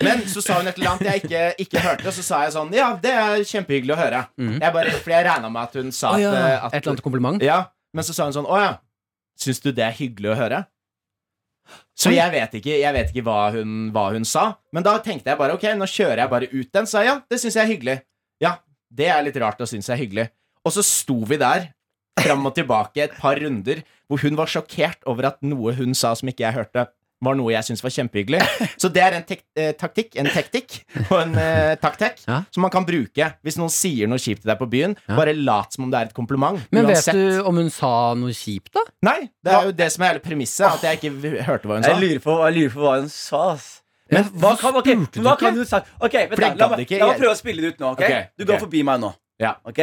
D: Men så sa hun et eller annet jeg ikke, ikke hørte, og så sa jeg sånn Ja, det er kjempehyggelig å høre. Jeg bare, for jeg regna med at hun sa
B: Mm. Å, ja.
D: at, at
B: Et eller annet kompliment?
D: Ja, men så sa hun sånn Å ja, syns du det er hyggelig å høre? Så jeg vet ikke, jeg vet ikke hva, hun, hva hun sa. Men da tenkte jeg bare ok, nå kjører jeg bare ut den. Så jeg, ja, det syns jeg er hyggelig. Ja, det er litt rart å synes jeg er hyggelig. Og så sto vi der fram og tilbake et par runder hvor hun var sjokkert over at noe hun sa som ikke jeg hørte, var noe jeg syntes var kjempehyggelig. Så det er en tek eh, taktikk, en tektikk og en eh, taktikk
B: Ja.
D: som man kan bruke hvis noen sier noe kjipt til deg på byen.
B: Ja.
D: Bare lat som om det er et kompliment.
B: Men vet
D: uansett.
B: du om hun sa noe kjipt, da?
D: Nei, det er jo det som er hele premisset. At jeg ikke v- hørte hva hun sa.
C: Jeg lurer, på, jeg lurer på hva hun sa, ass.
B: Men
C: hva kan, ok,
B: spurte du
C: hva
B: ikke?
C: kan du sagt? Ok, vent
D: For
C: da,
D: jeg
C: la,
D: gadd
C: meg,
D: ikke.
C: la meg
D: Jeg-
C: prøve å spille det ut nå. ok?
D: Ok,
C: Du går
D: ok.
C: forbi meg nå.
D: Ja.
C: Ok?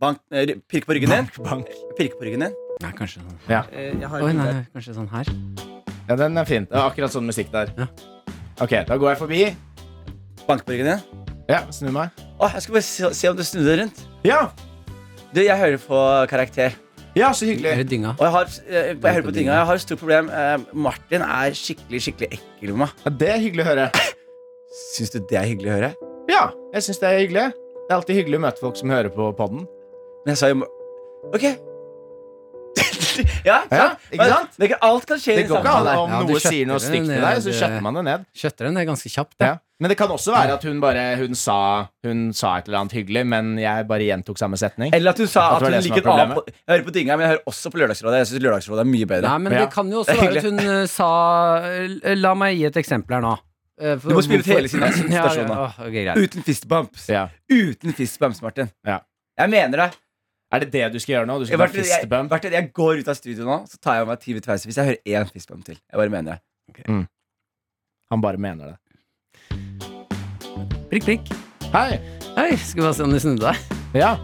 C: Bank, eh, pirk på ryggen din.
D: Bank.
C: Pirk på ryggen din.
B: Nei, kanskje sånn.
C: Eh, Jeg
B: Oi, nei, nei, kanskje sånn her.
D: Ja, den er fin. Det er akkurat sånn musikk der.
B: Ja.
D: Ok, da går jeg forbi.
C: Bank på ryggen din.
D: Ja, snur meg.
C: Å, jeg skal bare se, se om du snur deg rundt.
D: Ja,
C: Du, jeg hører på karakter.
D: ja så
B: Eller
D: hyggelig.
B: dynga.
C: Og jeg har, eh, jeg hører på tinga. Jeg har et stort problem. Eh, Martin er skikkelig, skikkelig ekkel med meg.
D: Ja, det er hyggelig å høre.
C: Syns du det er hyggelig å høre?
D: Ja, jeg syns det er hyggelig. Det er alltid hyggelig å møte folk som hører på podden.
C: Men jeg sa jo Ok. ja,
D: Ja, ikke
C: Men
D: sant?
C: Det er ikke alt kan skje i
D: Det
C: det
D: går ikke an
C: samme.
D: om
B: Ja, du
D: noe
B: skjøtter
D: sier noe
B: det
D: stygt til
B: ned,
D: deg, så
B: det-
D: skjøtter man det ned.
B: Kjøtter den er ganske kjapt, da.
D: Ja. Men det kan også være at hun bare Hun sa, hun sa et eller annet hyggelig, men jeg bare gjentok samme setning.
C: Eller at du sa
D: Jeg
C: at
D: tror
C: hun
D: det er det som
C: liker
D: er
C: en annen pod- Jeg hører på tinga, men jeg hører også på Lørdagsrådet. Jeg syns Lørdagsrådet er mye bedre.
B: Nei, men
D: Ja.
B: det kan jo også være at hun eh, sa eh, La meg gi et eksempel her nå. Eh, for-
C: Du må spille ut hele sin- sin
B: Ja,
C: stasjon, da.
B: ja, åh, ok, greit.
C: Uten fistbumps.
D: Ja.
C: Uten fistbumps, Martin.
D: Ja.
C: Jeg mener det.
D: Er det det du skal gjøre nå? Du
C: Jeg,
D: skal ta
C: Martin, jeg,
D: fistbump?
C: Martin, jeg går ut av studio nå, så tar jeg av meg ti minutter pause hvis jeg hører én fistbump til. Jeg bare mener det.
D: Han bare mener det.
B: Prikk, prikk.
D: Hei!
B: Hei, skal vi bare se om du snudde deg.
D: Ja,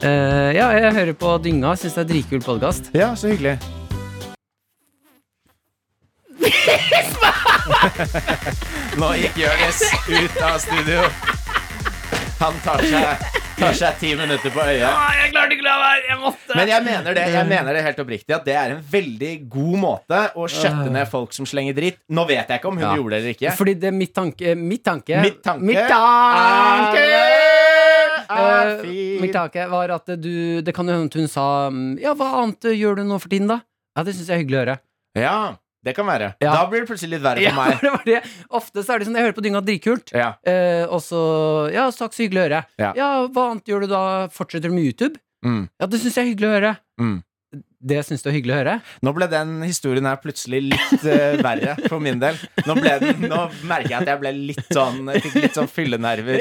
B: Eh, ja, jeg hører på Dynga. Syns det er dritkul podkast.
D: ja så hyggelig. Nå gikk Jonis ut av studio. Han tar seg, tar seg ti minutter på øyet.
B: Jeg klarte ikke å la være! Jeg måtte!
D: Men jeg mener, det, jeg mener det helt oppriktig at det er en veldig god måte å skjøtte ned folk som slenger dritt. Nå vet jeg ikke om hun
B: Ja.
D: gjorde det eller ikke.
B: Fordi det er mitt tanke Mitt tanke
D: Mitt tanke
B: Mitt tanke,
D: er
B: Eh,
D: fin.
B: mitt tanke var at du Det kan jo hende at hun sa mm, Ja, hva annet eh, gjør du nå for tiden, da? Ja, det syns jeg er hyggelig å høre.
D: Ja, det kan være.
B: Ja.
D: Da blir det plutselig litt verre for meg.
B: det var det. Ofte så er det sånn Jeg hører på Dynga dritkult.
D: Ja.
B: Eh, og så Ja, takk, så hyggelig å høre.
D: Ja.
B: hva annet gjør du da? Fortsetter du med YouTube?
D: Mm.
B: Ja, det syns jeg er hyggelig å høre.
D: Mm.
B: Det syns du er hyggelig å høre?
D: Nå ble den historien her plutselig litt eh, verre for min del. Nå, ble den, nå merker jeg at jeg ble litt sånn jeg fikk litt sånn fyllenerver.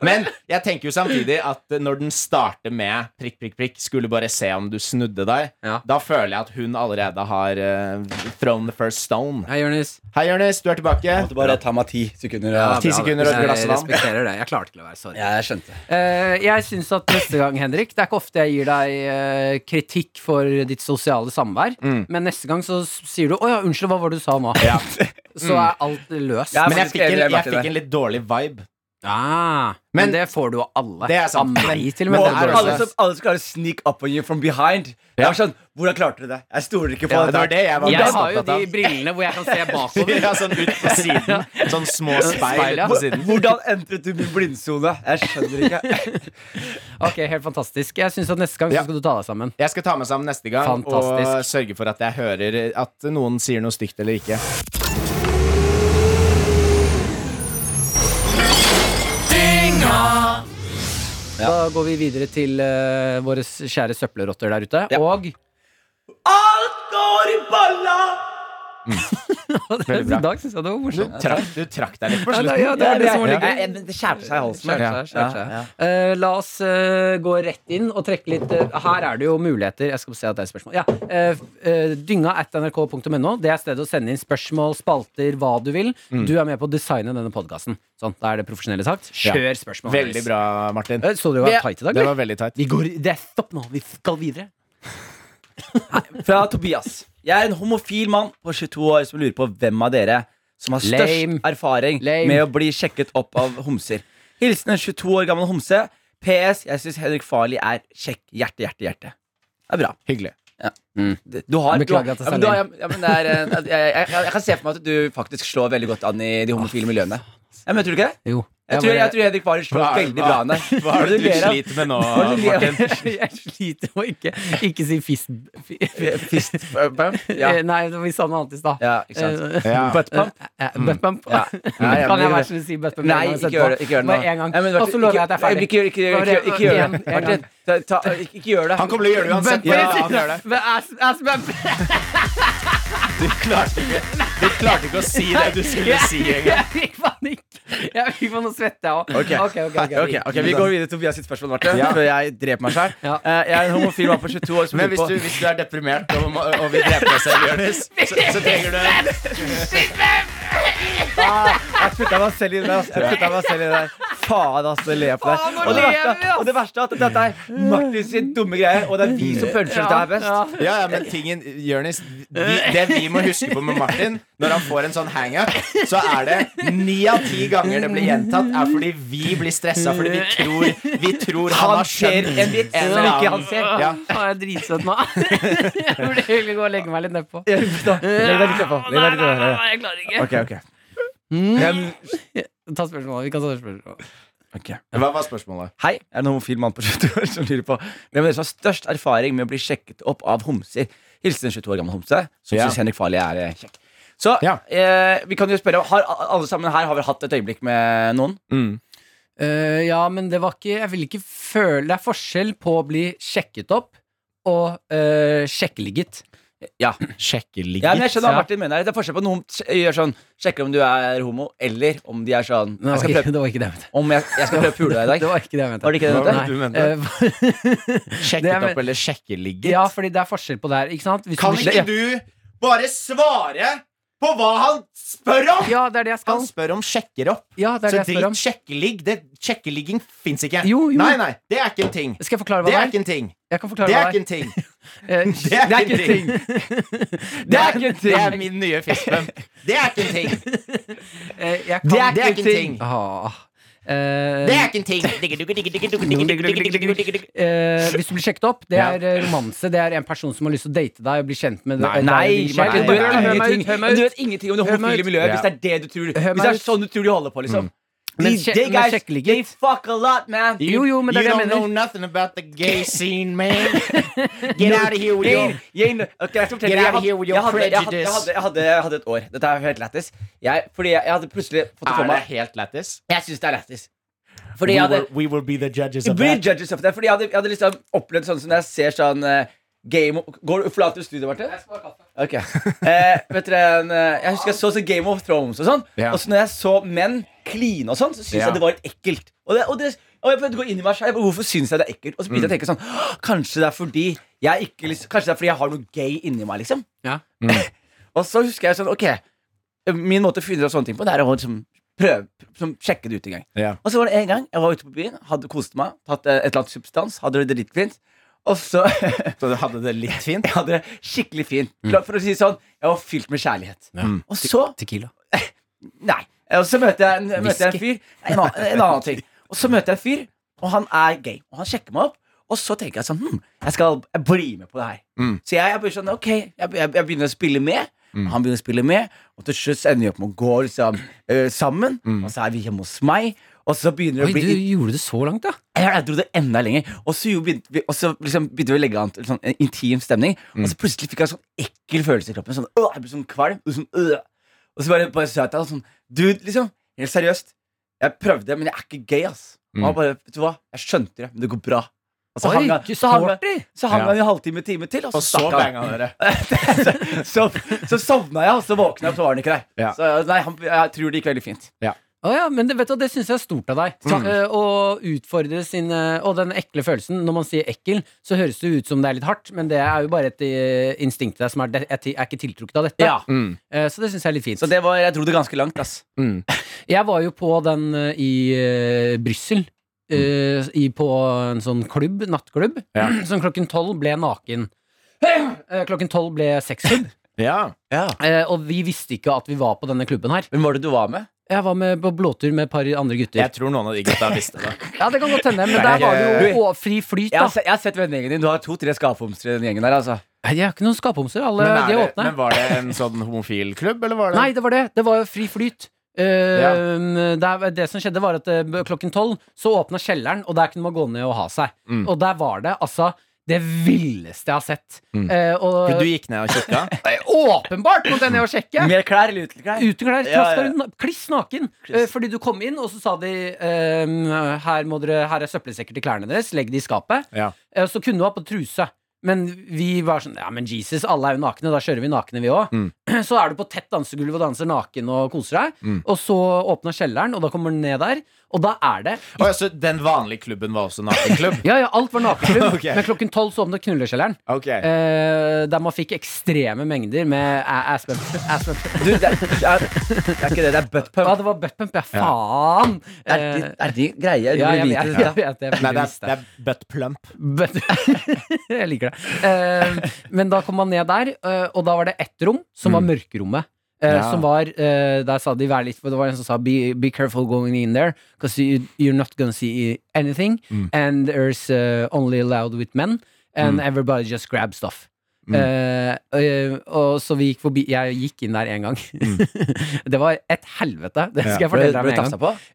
D: Men jeg tenker jo samtidig at når den starter med prikk, prikk, prikk, skulle bare se om du snudde deg,
B: Ja.
D: da føler jeg at hun allerede har uh, thrown the first stone.
B: Hei, Jonis.
D: Hei, Jonis, du er tilbake.
C: Måtte bare ta meg ti sekunder.
D: Ti sekunder og et glass vann.
B: Jeg respekterer det. Jeg klarte ikke å være sorry.
C: Jeg skjønte.
B: Eh, jeg syns at neste gang, Henrik Det er ikke ofte jeg gir deg eh, kritikk for ditt sosiale samvær,
D: Mm.
B: men neste gang så s- sier du 'Å ja, unnskyld, hva var det du sa nå?'
D: Ja.
B: Så er alt løst.
C: Ja,
D: Men jeg
C: faktisk
D: fikk, en,
C: enig,
D: jeg
C: Martin,
D: fikk en litt dårlig vibe.
B: Ah, men,
D: Men-
B: det får du av alle.
D: Det er sant.
B: Av meg,
D: Men-
B: til og med.
D: men det er
C: Og
B: får du av
C: alle
D: dårlig.
B: alle.
C: som, alle som klarer å sneak up on you from behind. Jeg var sånn, Hvordan klarte du det? Jeg stoler ikke på
D: Ja, det var det jeg var
B: Jeg
D: mest
B: har jo
D: opptatt
B: de
D: av.
B: brillene hvor jeg kan se bakover.
D: Ja, sånn ut på siden. Sånn små
B: Speil,
D: speil
B: ja.
D: ut på siden.
C: Hvordan entret du min blindsone? Jeg skjønner ikke.
B: Ok, Helt fantastisk. Jeg syns at neste gang
D: Ja.
B: så skal du ta deg sammen.
D: Jeg skal ta meg sammen neste gang og
B: Fantastisk.
D: sørge for at jeg hører at noen sier noe stygt eller ikke.
B: Da går vi videre til eh, våre kjære søppelrotter der ute.
C: Ja.
B: Og
C: Alt går i balla!
D: Veldig bra.
B: i dag syns jeg det var
D: Du
B: morsomt.
D: trakk, du trakk deg litt på
B: Ja,
D: slutten.
B: ja, det er det som var litt gøy.
C: Ja, det skjærte seg i halsen.
B: Skjært seg, skjært seg. Eh, la oss eh, gå rett inn og trekke litt eh, Her er det jo muligheter. Jeg skal se at det er et spørsmål. Ja, eh, eh, dynga at nrk.no. Det er stedet å sende inn spørsmål, spalter, hva du vil.
D: Mm.
B: Du er med på å designe denne podkasten. Sånn, da er det profesjonelle sagt.
D: Ja.
B: Kjør spørsmål.
D: Veldig bra, Martin.
B: Eh, Så du var
C: Det-
B: tight i dag,
D: Det
B: eller?
D: var veldig tight.
B: Vi går Det er stopp nå. Vi skal videre.
C: Fra Tobias. Jeg er en homofil mann på 22 år som lurer på hvem av dere som har størst
B: Lame.
C: erfaring
B: Lame.
C: med å bli sjekket opp av homser. Hilsen en 22 år gammel homse. PS. Jeg syns Henrik Farley er kjekk. Hjerte, hjerte, hjerte. Det er bra.
D: Hyggelig.
C: Du har,
B: Beklager at
C: du
B: jeg
C: har, ja, men, du har, ja, men det er, eh, jeg, jeg, jeg, jeg kan se for meg at du faktisk slår veldig godt an i de homofile miljøene. Ja, men tror du ikke det?
B: Jo.
C: Jeg tror, jeg tror Henrik Farley slår
D: Hva er-
C: veldig bra an der.
D: Hva er det du sliter med nå, Martin?
B: Jeg sliter med å ikke, ikke si fist... fi-
C: Fist bump? Ja.
B: Eh, Nei, vi sa noe annet i stad.
C: ja, ikke sant.
B: Eh,
D: Ja.
B: Buttpump. Eh, Buttpump.
C: Ja. Nei, jeg
B: Kan jeg
C: blir-
B: være så snill å si buttpump?
C: Nei, ikke gjør det. Ikke gjør det nå.
B: Bare en gang.
C: Nei, men Martin,
B: Og så lover jeg at jeg er ferdig.
C: Ikke, ikke, ikke, ikke, ikke, ikke gjør det.
B: En- en gang.
C: Martin, ta, ta, ikke gjør det.
D: Han kommer til å gjøre det uansett.
B: Buttpump.
D: Ja, han gjør det.
B: Ass- ass bump.
D: Du klarte ikke, du klarte ikke å si det du skulle si engang.
B: Jeg fikk panikk. Jeg fikk panikk, nå svetter jeg òg.
C: Ok. Ok, ok, Vi går videre til Tobias sitt spørsmål, Marte. Før jeg dreper meg selv
B: Ja.
C: Eh, Jeg er en homofil mann på 22 år som
D: Men hvis du,
C: lurer på
D: hvis du er deprimert og, må- og vil drepe deg selv, Jonis, så, så trenger du
C: ah, Jeg putta meg selv i det. ass. Jeg putta meg selv i det der. Faen, ass, det ler på deg.
B: Faen, nå
C: Og det
B: ler vi,
C: verste,
B: ass.
C: og det verste er at dette er Martin sin dumme greie, og det er vi som puncher dette her best.
D: Ja, ja, men tingen, Jonis, vi, det vi må huske på med Martin, når han får en sånn hangup, så er det ni av ti ganger det blir gjentatt, er fordi vi blir stressa fordi vi tror, vi tror han
C: Han
D: har
C: ser
D: skjønt
C: en vits som ikke han ser.
D: Ja.
B: Faen, jeg er dritsøt nå. Jeg burde heller gå og legge meg litt nedpå.
C: Jeg forstår. Legg deg litt nedpå. Legg
B: Nei,
C: deg litt
B: nei,
C: nedpå.
B: nei, jeg klarer ikke.
C: Ok, ok. Hvem-
B: Ta spørsmålet. Vi kan ta spørsmålet.
C: ok.
D: Hva var spørsmålet?
C: Hei, jeg er en homofil mann på 22 år som lurer på hvem av dere som har størst erfaring med å bli sjekket opp av homser. Hilsen en 22 år gammel homse, som
D: Ja.
C: synes Henrik Farley er eh, kjekk. Så
D: Ja.
C: eh, vi kan jo spørre har, Alle sammen her har vel hatt et øyeblikk med noen?
D: Mm.
B: Eh, ja, men det var ikke Jeg vil ikke føle Det er forskjell på å bli sjekket opp og uh, sjekkeligget.
C: Ja.
D: Sjekkeligget.
C: ja men jeg skjønner hva
B: Ja.
C: Martin mener. Det er forskjell på noen gjør sånn Sjekker om du er homo, eller om de er sånn
B: Det
C: Jeg
B: var
C: skal
B: ikke
C: prøve,
B: det var ikke det jeg mente.
C: om jeg, jeg skal prøve å pule deg i dag.
B: Det var ikke det jeg mente.
C: Var det ikke det du
D: Hva var
C: mente?
D: det du mente?
B: Eh, Det er
D: Sjekket
B: vel-
D: opp eller sjekkeligget?
B: Eh, ja, fordi det er forskjell på det her. Ikke sant? Hvis du
D: Kan
B: blir-
D: ikke du bare svare på hva han spør om?!
B: Ja, det er det jeg
D: Han
B: skal.
D: spør om sjekker opp.
B: Ja, det er
D: Så
B: det jeg spør
D: drit
B: om.
D: sjekkeligg. det- Sjekkeligging fins ikke.
B: Jo, jo.
D: Nei, nei, det er ikke en ting.
B: Skal jeg forklare hva
D: Det er
B: det er?
D: ikke en ting.
B: Jeg kan
D: Det
B: forklare
D: er
B: hva
D: ikke
B: det er.
D: en ting.
B: Eh,
D: Det er ikke en ting.
B: Det er ikke en ting.
D: Det er min nye fistbump. Det er ikke en ting.
B: Eh, jeg kan-
D: Det er ikke en ting.
B: Ah.
D: Det er
B: Eh,
D: ikke en ting.
B: eh, hvis du blir sjekket opp, det
D: Ja.
B: er eh, romanse. Det er en person som har lyst til å date deg og bli kjent med deg.
D: Nei,
B: deg og din
C: Martin,
B: kjærlighet.
C: du,
B: Hør meg
C: vet
B: ut,
C: ingenting,
B: hør meg
C: du
B: ut.
C: vet ingenting om det
B: Hør meg
C: homofile
B: ut.
C: miljøet hvis
D: Ja.
C: det er det du tror
B: Hør
C: Hvis det
B: meg
C: er
B: ut. Mm.
C: sånn du tror de holder på, liksom.
B: Men
C: These
B: sjek-
C: gay
B: men
C: guys,
B: sjekkelighet.
C: they fuck a lot, man.
B: Jo, jo, men det er det jeg mener.
D: nothing about the gay scene, man. Get out of here with
C: Jeg, jeg, ok, jeg, skal
D: Get
C: fortelle, jeg,
D: out of
C: hadde,
D: here with your
C: jeg, hadde, jeg, hadde, jeg,
D: prejudice.
C: hadde, jeg, hadde, jeg hadde et år. Dette er helt lættis. Jeg, fordi jeg, jeg hadde plutselig fått det
D: Er
C: for
D: det
C: meg.
D: helt lættis?
C: Jeg syns det er lættis. Fordi jeg hadde
D: we will be the judges
C: Jeg blir judges of det, Fordi jeg hadde, jeg hadde liksom opplevd sånn som når jeg ser sånn eh, Game of Går du forlater du studiet, Martin? Jeg skal ha kaffe. Eh, vet dere, en, eh, jeg husker jeg så, så Game of Thrones og sånn.
D: Ja.
C: Og så når jeg så menn kline og sånn, så syntes
D: Ja.
C: jeg det var litt ekkelt. Og, det, og, det, og jeg prøvde å gå inn i meg selv. jeg bare, Hvorfor syns jeg det er ekkelt? Og så
D: Mm.
C: begynte jeg å tenke sånn «Åh, Kanskje det er fordi jeg ikke liksom, Kanskje det er fordi jeg har noe gay inni meg, liksom.
B: Ja.
C: og så husker jeg sånn Ok, min måte å finne ut av sånne ting på, det er å liksom prøve liksom, Sjekke det ut en gang.
D: Ja.
C: Og så var det en gang jeg var ute på byen, hadde kost meg, tatt eh, et eller annet substans, hadde det dritfint. Og så jeg
D: Så du hadde det litt fint? Mm.
C: hadde det skikkelig fint. La- For å si det sånn, jeg var fylt med kjærlighet. Mm.
B: Ja.
C: Og så
B: Tequila.
C: Nei. Og så møter jeg, en- møter jeg en fyr. En annen, en annen ting. Og så møter jeg en fyr, og han er gay. Og han sjekker meg opp. Og så tenker jeg sånn hm, jeg skal jeg bli med på det her.
D: Mm.
C: Så jeg, jeg blir sånn, ok, jeg, jeg, jeg begynner å spille med. Han begynner å spille med, og til slutt så ender vi opp med å gå liksom, eh, sammen.
D: Mm.
C: Og så er vi hjemme hos meg, og så begynner det
B: Oi,
C: å bli
B: du gjorde det så langt, da.
C: jeg, jeg dro det enda lenger. Og så jo begynte vi, og så liksom begynte vi å legge an til sånn en intim stemning. Og så plutselig fikk jeg en sånn ekkel følelse i kroppen. Sånn, øh, jeg ble sånn kvalm. Og, sånn, øh. og så bare, bare sa jeg til han sånn Dude, liksom. Helt seriøst. Jeg prøvde, men jeg er ikke gay, ass. Og han bare, vet du hva, jeg skjønte det, men det går bra. Og så
B: Oi,
C: hang han,
B: ikke
C: så hang han,
B: sporty.
C: så hang
D: Ja.
C: han i en halvtime, time til, og så
D: Og så
C: stakk han.
D: banga dere.
C: Så, så sovna jeg, og så våkna jeg, og så var han ikke der.
D: Ja.
C: Så nei, han, jeg tror det gikk veldig fint.
B: Å ja, men det, vet du, det syns jeg er stort av deg. Eh, Å utfordre sin eh, Og den ekle følelsen. Når man sier ekkel, så høres det ut som det er litt hardt, men det er jo bare et eh, instinkt i deg som er, det- jeg ti- er ikke tiltrukket av dette.
C: Ja.
B: Eh, Så det syns jeg er litt fint.
C: Så det var, jeg dro det ganske langt, ass.
B: Jeg var jo på den eh, i eh, Brussel.
D: Mm.
B: eh, i, på en sånn klubb, nattklubb,
D: Ja.
B: som klokken tolv ble naken. Eh, klokken tolv ble sexklubb,
D: Ja.
B: eh, og vi visste ikke at vi var på denne klubben her.
C: Hvem var det du var med?
B: Jeg var med på blåtur med et par andre gutter.
D: Jeg tror noen av de gutta visste det.
B: Ja, det kan godt hende, men der var det jo å- fri flyt,
C: Jeg har,
B: da.
C: se, jeg har sett vennegjengen din. Du har to-tre skapomster i den gjengen der. altså
B: De har ikke noen skaphomser. Alle
D: Men, er
B: de er
D: det,
B: åpne.
D: men var det en sånn homofil klubb, eller var det
B: Nei, det var det. Det var jo fri flyt. Eh,
D: Ja.
B: det, er- det som skjedde, var at eh, klokken tolv så åpna kjelleren, og der kunne man gå ned og ha seg.
D: Mm.
B: Og der var det altså det villeste jeg har sett.
D: Mm.
B: Eh, og
D: Du gikk ned og kikka?
B: Eh, åpenbart måtte jeg ned og sjekke!
C: Mer klær eller uten klær?
B: Uteklær,
C: Ja, ja.
B: traska rundt, na- kliss naken.
C: Kliss.
B: Eh, Fordi du kom inn, og så sa de ehm, her, må dere, her er søppelsekker til klærne deres, legg de i skapet.
D: Ja.
B: Eh, Så kunne du ha på truse. Men vi var sånn Ja, men Jesus, alle er jo nakne, da kjører vi nakne, vi òg.
D: Mm.
B: Så er du på tett dansegulv og danser naken og koser deg.
D: Mm.
B: Og så åpna kjelleren, og da kommer du ned der, og da er det
D: Å, ja, så den vanlige klubben var også nakenklubb?
B: Ja, ja, alt var nakenklubb,
D: Ok.
B: men klokken tolv så åpnet knullekjelleren.
D: Ok
B: Eh, der man fikk ekstreme mengder med a- ass bump. Ass bump.
C: Du, det, er, det, er, det er ikke det, det er buttpump.
B: Ja, det var buttpump, ja. Faen! Eh,
C: Det er, de, det er de greie du
B: ja, jeg,
C: vil
B: vet-
C: vite.
B: jeg, vet det, jeg,
D: Nei, det
B: burde
D: er,
B: visst
D: det
B: det.
D: er butt plump.
B: But- jeg liker det. Eh, men da kom man ned der, eh, og da var det ett rom, som var mørkerommet. eh,
D: Mm. Ja.
B: Som var eh, Der sa de vær litt for Det var en som sa Be, be careful going in there, because you, you're not gonna see anything.
D: Mm.
B: And there's eh, only allowed with men. And
D: Mm.
B: everybody just grab stuff.
D: Mm.
B: Eh, eh, og så vi gikk forbi Jeg gikk inn der én gang. det var et helvete. Det
D: Mm. Ja.
B: skal jeg
C: Ble
B: fortelle
C: ble
B: deg
C: du
B: med en
C: tafsa
B: gang.
C: på?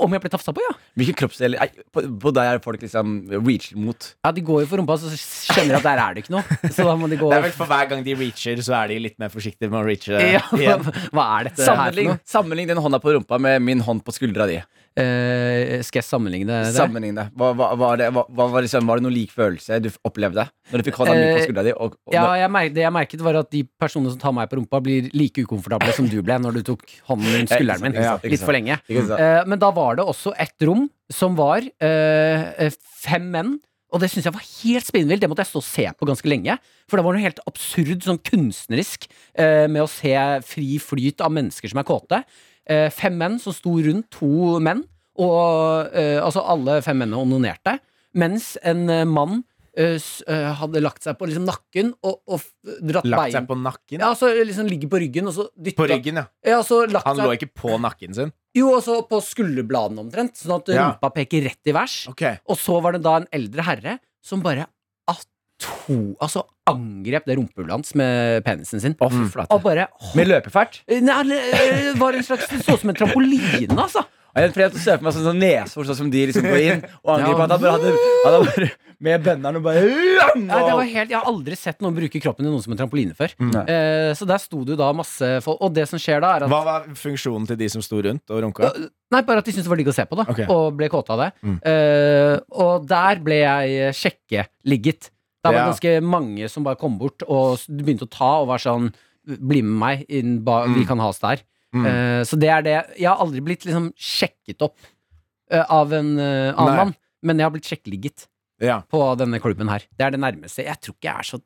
B: Om jeg ble tafsa på, ja?
C: Hvilken kroppsdel nei, på, på deg er folk liksom reacher mot?
B: Ja, de går jo for rumpa, så skjønner de at der er det ikke noe. Så da må de gå
D: Det er vel for hver gang de reacher, så er de litt mer forsiktige med å reache.
B: ja,
D: igjen.
B: hva, hva er dette her for
C: eh, Sammenlign,
B: noe?
C: sammenlign den hånda på rumpa med min hånd på skuldra di.
B: Eh, skal jeg sammenligne det?
C: Sammenlign det. Hva, hva, var, det hva, hva var, liksom, var det noen lik følelse du f- opplevde når du fikk hånda mi på
B: Eh,
C: skuldra di? Og, og,
B: Ja, jeg mer, det jeg merket, var at de personene som tar meg på rumpa, blir like ukomfortable som du ble når du tok hånden rundt skulderen min.
C: Ikke sant, Eh, ikke sant, ikke
B: Litt for lenge.
C: Ikke sant?
B: Eh, men da var det også et rom som var eh, eh, fem menn. Og det syns jeg var helt spinnvilt. Det måtte jeg stå og se på ganske lenge. For det var noe helt absurd sånn kunstnerisk eh, med å se fri flyt av mennesker som er kåte. Eh, fem menn som sto rundt to menn, og eh, altså alle fem mennene onanerte. Mens en eh, mann eh, s- eh, hadde lagt seg på liksom nakken og, og f- dratt
D: Lagt
B: bein
D: seg på nakken.
B: Ja, så liksom ligger på ryggen, og så dytta
D: På ryggen, ja.
B: Ja, så lagt
D: Han
B: seg
D: lå ikke på nakken sin.
B: jo, og så på skulderbladene omtrent, sånn at
D: Ja.
B: rumpa peker rett i vers.
D: Ok
B: Og så var det da en eldre herre som bare ato, altså angrep det rumpehullet hans med penisen sin.
C: Å, fy
D: Mm.
C: flate.
B: Og bare eh,
C: Med løpefart?
B: Nei, det var en slags Det så ut som en trampoline, altså.
C: Og Jeg prøvde å se for meg sånn, sånn neshorn sånn som de liksom går inn og angriper.
B: Ja.
C: At han bare hadde, han hadde bare med bøndene og bare
B: Nei, det var helt, jeg har aldri sett noen bruke kroppen til noen som en trampoline før.
C: Nei.
B: Eh, så der sto det jo da masse folk. Og det som skjer da, er at
D: Hva var funksjonen til de som sto rundt og runka?
B: Nei, bare at de syntes det var digg å se på, da.
D: Ok.
B: Og ble kåte av det.
D: Mm.
B: Eh, og der ble jeg eh, sjekkeligget. Der var det
D: Ja.
B: ganske mange som bare kom bort og s- begynte å ta og var sånn Bli med meg inn, ba, vi
D: Mm.
B: kan has der.
C: Øh,
D: Mm.
B: Eh, så det er det. Jeg har aldri blitt liksom sjekket opp eh, av en eh,
D: Nei.
B: annen mann, men jeg har blitt sjekkeligget
D: Ja.
B: på denne klubben her. Det er det nærmeste. Jeg tror ikke jeg er så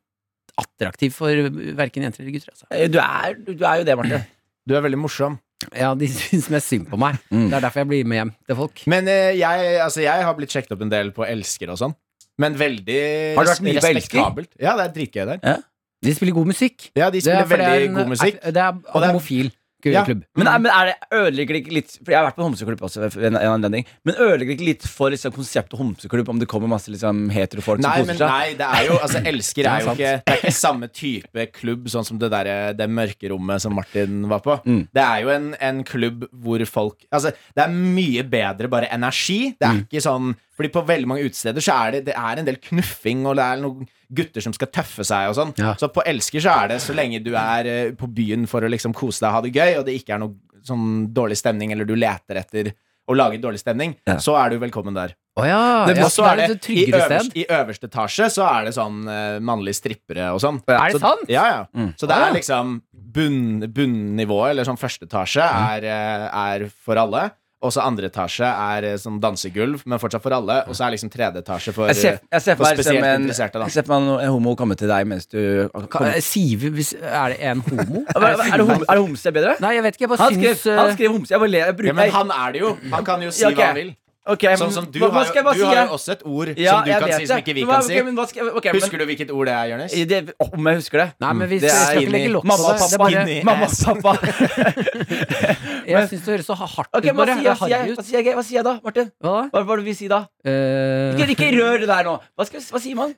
B: attraktiv for verken jenter eller gutter. Altså.
C: Eh, Du er, du er jo det, Marte.
D: Du er veldig morsom.
B: Ja, de syns mest synd på meg.
C: Mm.
B: Det er derfor jeg blir med hjem til folk.
D: Men eh, jeg, altså, jeg har blitt sjekket opp en del på elsker og sånn. Men veldig
C: Har du vært mye på Elsker?
D: respektabelt. Ja, det er dritgøy der.
B: De spiller god musikk.
D: Ja, de spiller
B: for
D: veldig
B: en-
D: god musikk.
B: Det er
D: Og det er-
B: homofil
D: Ja.
B: klubb.
C: Men, er- men er det ødelegger det ikke litt For jeg har vært på homseklubb også ved- ved en, en anledning. Men ødelegger det ikke litt for liksom, konseptet homseklubb om det kommer masse liksom, heterofolk som
D: Nei,
C: koser
D: men
C: seg?
D: nei, det er jo Altså, elsker
B: Ja,
D: er jo
B: sant.
D: ikke Det er ikke samme type klubb sånn som det derre Det mørkerommet som Martin var på.
C: Mm.
D: Det er jo en, en klubb hvor folk Altså, det er mye bedre bare energi. Det er ikke sånn Fordi på veldig mange utesteder så er det Det er en del knuffing, og det er noen gutter som skal tøffe seg og sånn.
B: Ja.
D: Så på elsker så er det så lenge du er eh, på byen for å liksom kose deg og ha det gøy, og det ikke er noe sånn dårlig stemning, eller du leter etter å lage dårlig stemning,
C: Ja.
D: så er du velkommen der.
B: Å ja.
D: Det,
B: ja,
D: også
B: så
D: er det,
B: et
D: i,
B: tryggere
D: øverste,
B: sted.
D: I øverste etasje så er det sånn eh, mannlige strippere og sånn.
B: Er det
D: så,
B: sant?
D: Ja, ja.
C: Mm.
D: Så det
B: Ah, ja.
D: er liksom bunn, bunnivået, eller sånn første etasje, er, eh, er for alle. Og så andre etasje er eh, sånn dansegulv, men fortsatt for alle. Og så er liksom tredje etasje for eh,
C: Jeg ser, jeg ser for meg
D: For spesielt
C: liksom, en,
D: interesserte, da.
C: jeg ser for meg en homo komme til deg mens du
B: Ka-
C: kommer.
B: eh, Sive, hvis, er det en homo?
C: Er, er, det hom- er det homse bedre?
B: Nei, jeg vet ikke. Jeg bare
C: Han skrev,
B: syns eh,
C: han skrev homse. Jeg bare ler. Jeg
D: ja,
C: bruker
D: Men han er det jo. Han kan jo si
C: Ja, ok.
D: hva han vil.
C: Ok, men
D: Sånn som du,
C: hva- hva
D: har,
C: skal
D: jo,
C: jeg bare
D: du
C: si,
D: har
C: jeg?
D: jo også et ord
C: Ja,
D: som du
C: jeg
D: kan
C: vet
D: si, som
C: det.
D: ikke vi
C: Men hva-
D: kan si.
C: ok, men hva skal jeg- ok, men-
D: Husker du hvilket ord det er, Jonis?
C: I det, om jeg husker det?
B: Nei, men vi
D: Mm. Det
B: skal
D: er
B: skal ikke legge
D: inni-
B: lokk på
C: Mamma
B: det.
C: og
B: det er
C: pappa.
B: bare,
D: inni-
C: Mamma og pappa.
B: jeg syns det høres så hardt
C: Ok,
B: ut.
C: men hva
B: Bare,
C: sier,
B: det er
C: jeg, hva, sier
B: harry
C: jeg, hva
B: ut.
C: sier jeg da, Martin?
B: Hva da?
C: Hva, hva vil du si da?
B: Eh,
C: Ikke, ikke rør det der nå. Hva, skal, hva sier man?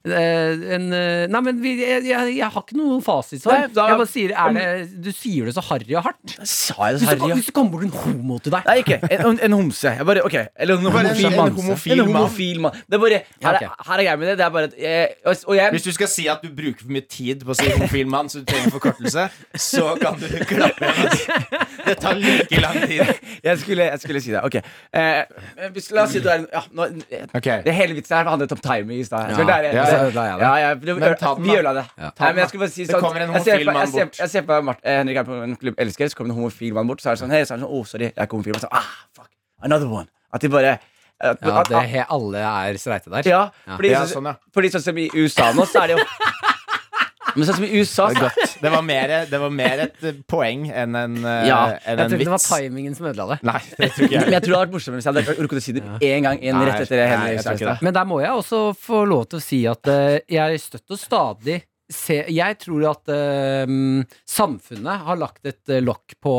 B: eh, en, eh, Nei, men vi, jeg, jeg, jeg har ikke noe fasitsvar.
C: Nei, da-
B: jeg bare sier er det, Du sier det så harry og hardt.
C: Sa jeg det
B: Hvis
C: så
B: det,
C: harry?
B: kom- hvis det kommer bort en homo til deg
C: Nei, ikke en, en homse. Jeg bare, ok Eller en
D: Bare en-
C: homofil
D: en
C: mann.
D: homofil
C: En homofil mann. Det er bare Her,
B: Ja,
C: er- her er greia med det. Det er bare at jeg, og- Og jeg
D: Hvis du skal si at du bruker for mye tid på å si homofil mann, så du trenger forkortelse, så kan du klappe. Det tar like lang tid.
C: jeg skulle, jeg skulle si det. Ok. Eh, hvis, la oss si du er en ja, nå,
D: Ok.
C: Det hele vitsen her handlet om timing i stad. Så
B: Ja.
C: det er-
D: Ja,
C: det-
B: så ødela jeg det.
C: Ja, ja, vi-
D: Men ta den,
C: vi
D: da.
C: ødela det.
B: Ja.
C: Nei, men jeg skulle bare si
D: Det
C: sånn,
D: kommer en
C: jeg ser
D: homofil
C: for-
D: mann
C: jeg ser-
D: bort.
C: Jeg ser på meg Mart- eh, Henrik er på en klubb elsker, så kommer en homofil mann bort, så er det sånn Hei, så er det sånn Å, sorry, jeg er ikke homofil. Og så, ah, fuck, another one. At de bare at,
B: Ja,
C: at-
B: det, he- alle er streite der.
C: ja, fordi,
D: Ja,
C: sånn-
D: sånn, ja.
C: fordi sånn som i USA nå, så er det jo Men sånn som i USA
D: Det, er
C: så,
D: godt. det, var mer, det var mer et eh, poeng enn en, eh,
B: Jeg
D: enn
C: Ja,
D: en
B: tror det var
D: vits.
B: timingen som ødela det.
D: Nei, det tror ikke
C: Men
D: jeg.
C: jeg tror det hadde vært morsommere hvis jeg hadde rukket å si det én gang inn
D: Nei,
C: rett etter det.
D: nei,
C: Henrik
D: jeg tror ikke
C: Sarstad.
D: det.
B: Men der må jeg også få lov til å si at eh, jeg støtt og stadig ser Jeg tror at eh, samfunnet har lagt et eh, lokk på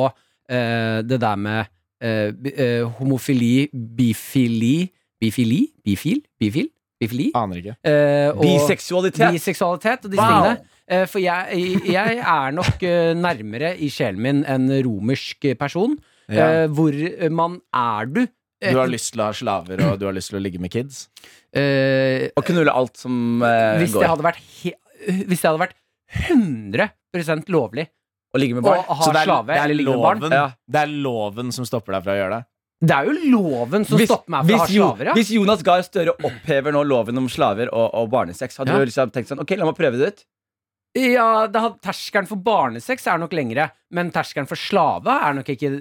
B: eh, det der med eh, bi- eh, homofili, bifili Bifili? Bifil? Bifil? Bifili?
D: Aner ikke.
B: Eh, og
C: Biseksualitet.
B: biseksualitet og disse
C: Wow.
B: tingene. Eh, for jeg, jeg er nok eh, nærmere i sjelen min en romersk person.
D: Ja.
B: Eh, hvor man er du?
D: Du har lyst til å ha slaver, og du har lyst til å ligge med kids.
B: Eh,
C: Å knulle alt som eh,
B: hvis det
C: går.
B: hadde vært he Hvis det hadde vært 100 lovlig
C: Å ligge med
B: å
C: barn.
B: ha
D: det er,
B: slave
D: det, er
B: eller ligge med barn
D: loven,
C: Ja.
D: det er loven som stopper deg fra å gjøre det.
B: Det er jo loven som stopper meg fra å ha
C: hvis Jo-
B: slaver, ja.
C: Hvis Jonas Gahr Støre opphever nå loven om slaver og, og barnesex, hadde
B: Ja.
C: du liksom tenkt sånn Ok, la meg prøve det ut.
B: ja det had, terskelen for barnesex er nok lengre, men terskelen for slave er nok ikke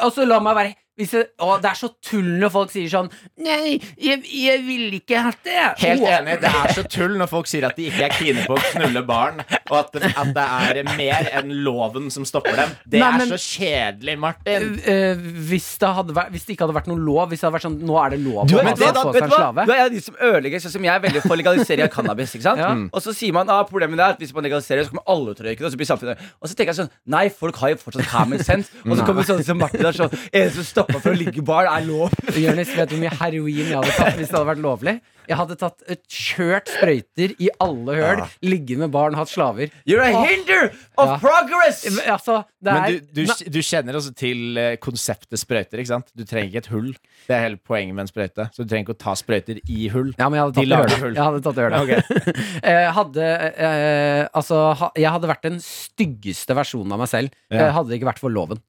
B: Altså, la meg være hvis jeg, å, Det er så tull når folk sier sånn Nei, jeg, jeg ville ikke hatt det.
D: Helt
B: Å,
D: enig. Det er så tull når folk sier at de ikke er kine på å knulle barn, og at, at det er mer enn loven som stopper dem. Det
B: Nei, men-
D: er så kjedelig, Martin.
B: eh, hvis, det hadde vært, hvis det ikke hadde vært noen lov Hvis det hadde vært sånn Nå er det lov
C: Du
B: å
C: er,
B: ha
C: vet
B: på
C: du, hva?
B: seg
C: vet
B: en
C: du, hva?
B: slave.
C: du er de som ødelegger, sånn som jeg er veldig for legalisering av cannabis. ikke sant?
B: Ja.
C: Og så sier man ah, problemet er at hvis man legaliserer, så kommer alle til å røyke det. Og så blir samfunnet Og så tenker jeg sånn Nei, folk har jo fortsatt common sense. Og så kommer sånne som Martin der sånn Eneste som stopper for å ligge i barn, er lov.
B: Jonis, vet du hvor mye heroin jeg hadde tatt hvis det hadde vært lovlig? Jeg hadde tatt et kjørt sprøyter i alle høl, ligget med barn, hatt slaver.
C: You're a hinder
B: Ja.
C: of progress!
B: Men, Altså, det er
D: Men du, du, du kjenner også til eh, konseptet sprøyter, ikke sant? Du trenger ikke et hull. Det er hele poenget med en sprøyte. Så du trenger ikke å ta sprøyter i hull.
B: Ja, men jeg hadde
D: De
B: tatt det i
D: lager
B: hølet.
D: hull.
B: Jeg hadde tatt det i hølet. Eh, hadde eh, Altså, ha, jeg hadde vært den styggeste versjonen av meg selv,
D: Ja.
B: eh, hadde det ikke vært for loven.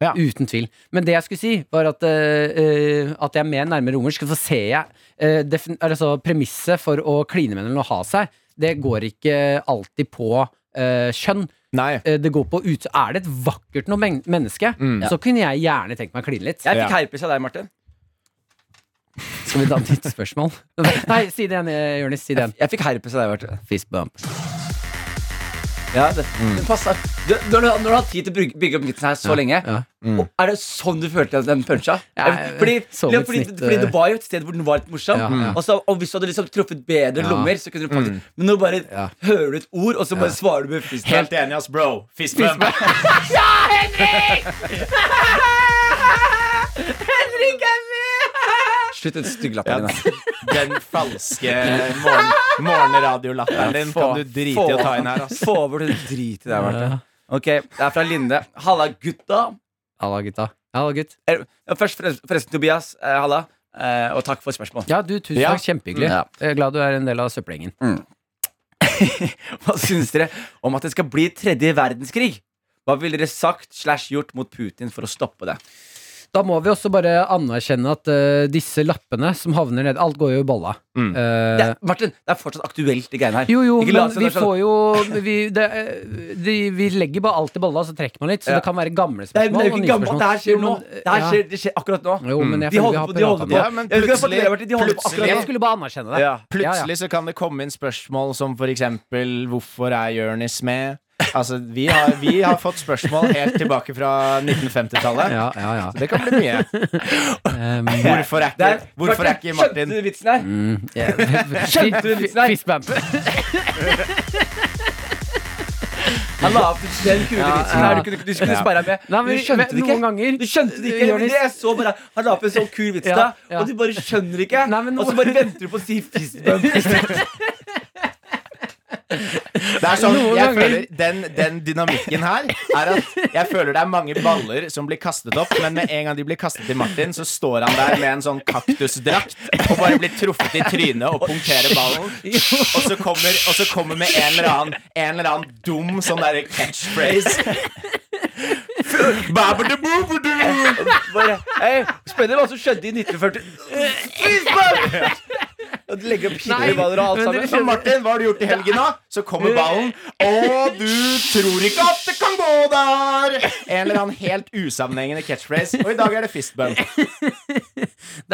D: Ja.
B: Uten tvil. Men det jeg skulle si, var at, eh, eh, at jeg er mer nærme romersk. For ser jeg eh, defin- altså, Premisset for å kline med eller å ha seg, det går ikke alltid på eh, kjønn.
D: Nei.
B: Eh, det går på ut... Er det et vakkert noe men menneske, så kunne jeg gjerne tenkt meg å kline litt.
C: Jeg
D: Mm. Ja.
C: fikk herpes av deg, Martin.
B: Skal vi ta et nytt spørsmål? Nei, si det igjen, eh, Jonis. Si det igjen.
C: Jeg fikk herpes av deg, Martin.
B: Fist bump.
C: Ja, det,
D: Mm.
C: det passer. Du, når, du, når du har tid til å bygge, bygge opp vitsen her så lenge,
B: ja.
D: Mm.
C: og er det sånn du følte at den puncha?
B: Ja,
C: fordi,
B: så
C: ja,
B: vidt
C: fordi,
B: snitt,
C: fordi
B: eh.
C: det var jo et sted hvor den var litt morsom.
B: Ja, ja.
C: Og, så, og hvis du hadde liksom truffet bedre
B: Ja.
C: lommer, så kunne du
D: Mm.
C: faktisk Men nå bare
B: Ja.
C: hører du et ord, og så bare svarer du med fisten.
D: Helt enig, ass, bro. Fist bump.
B: Henrik er med!
C: Slutt den stygge
D: Ja,
C: latteren din. da.
D: den falske morgen, morgenradiolatteren din
C: Få-
D: kan du drite
C: få-
D: i å ta inn her, ass.
C: Få over den drit i deg, Martin. Ok, det er fra Linde. Halla, gutta.
B: Halla, gutta. Halla, gutt.
C: Er- ja, Først forresten, forresten, Tobias. eh, Halla. Eh, Og takk for spørsmål.
B: Ja, du, tusen
D: Ja.
B: takk. Kjempehyggelig.
C: Ja.
B: Jeg er glad du er en del av søppelgjengen.
C: Hva syns dere om at det skal bli tredje verdenskrig? Hva ville dere sagt slash gjort mot Putin for å stoppe det?
B: Da må vi også bare anerkjenne at eh, disse lappene som havner ned Alt går jo i balla.
D: Mm.
B: Eh,
C: det er, Martin, det er fortsatt aktuelt, de greiene her.
B: jo, jo,
C: Ikke
B: men
C: lat som
B: vi
C: det er sånn-
B: får jo vi, det, eh, de, vi legger bare alt i balla, så trekker man litt. Så
C: Ja.
B: det kan være gamle
C: det er, men det er
B: spørsmål og
C: jo ikke
B: nye
C: gammelt.
B: spørsmål.
C: Det her skjer
B: Jo, men,
C: nå.
B: eh,
C: Det her
B: ja.
C: skjer, det skjer akkurat nå.
B: Jo, men jeg
C: De
B: føler vi
C: holder
B: har
C: på, de holder
B: pratet
C: på.
B: om det.
D: Ja, men
C: Jeg vet ikke hva jeg har fått med meg,
D: plutselig-
C: Martin, de holder på
D: plutselig-
B: Jeg
C: akkurat nå.
B: skulle bare anerkjenne det.
C: Ja.
D: Plutselig så kan det komme inn spørsmål som for eksempel Hvorfor er Jonis med? Altså, vi har, vi har fått spørsmål helt tilbake fra 1950-tallet.
B: Ja, ja, ja.
D: Det kan bli mye.
B: Um,
D: Hvorfor er
C: Det
D: ikke,
C: er-
D: hvorfor er ikke Martin
C: Skjønte du vitsen her?
B: mm, yeah.
C: Skjønte du liksom vitsen her?
B: Fistbump.
C: Han la opp til den kule
B: Ja,
C: vitsen her.
B: ja.
C: Du kunne, du kunne
D: Ja.
C: spare med.
B: Nei, men
C: du skjønte det
B: noen
C: ikke.
B: ganger
C: Du skjønte det ikke.
B: Jonis-
C: men det jeg så bare, han la opp en sånn kul vits
B: Ja,
C: da,
B: ja.
C: og du bare skjønner ikke.
B: Nei, men nå-
C: Og så bare venter du på å si fistbump.
D: Det er sånn,
B: Noen
D: jeg
B: ganger-
D: føler den, den dynamikken her er at jeg føler det er mange baller som blir kastet opp, men med en gang de blir kastet til Martin, så står han der med en sånn kaktusdrakt og bare blir truffet i trynet og punkterer ballen. Og så kommer, og så kommer med en eller annen En eller annen dum sånn derre catchphrase.
C: Bare, hey, Spennende hva som skjedde i 1940 Og du legger opp pinneballer og alt
B: men dere
C: sammen.
D: Men Martin, hva har du gjort i helgen, da? Så kommer ballen. Og du tror ikke at det kan gå der! En eller annen helt usammenhengende catchphrase. Og i dag er det fistbump.
B: Det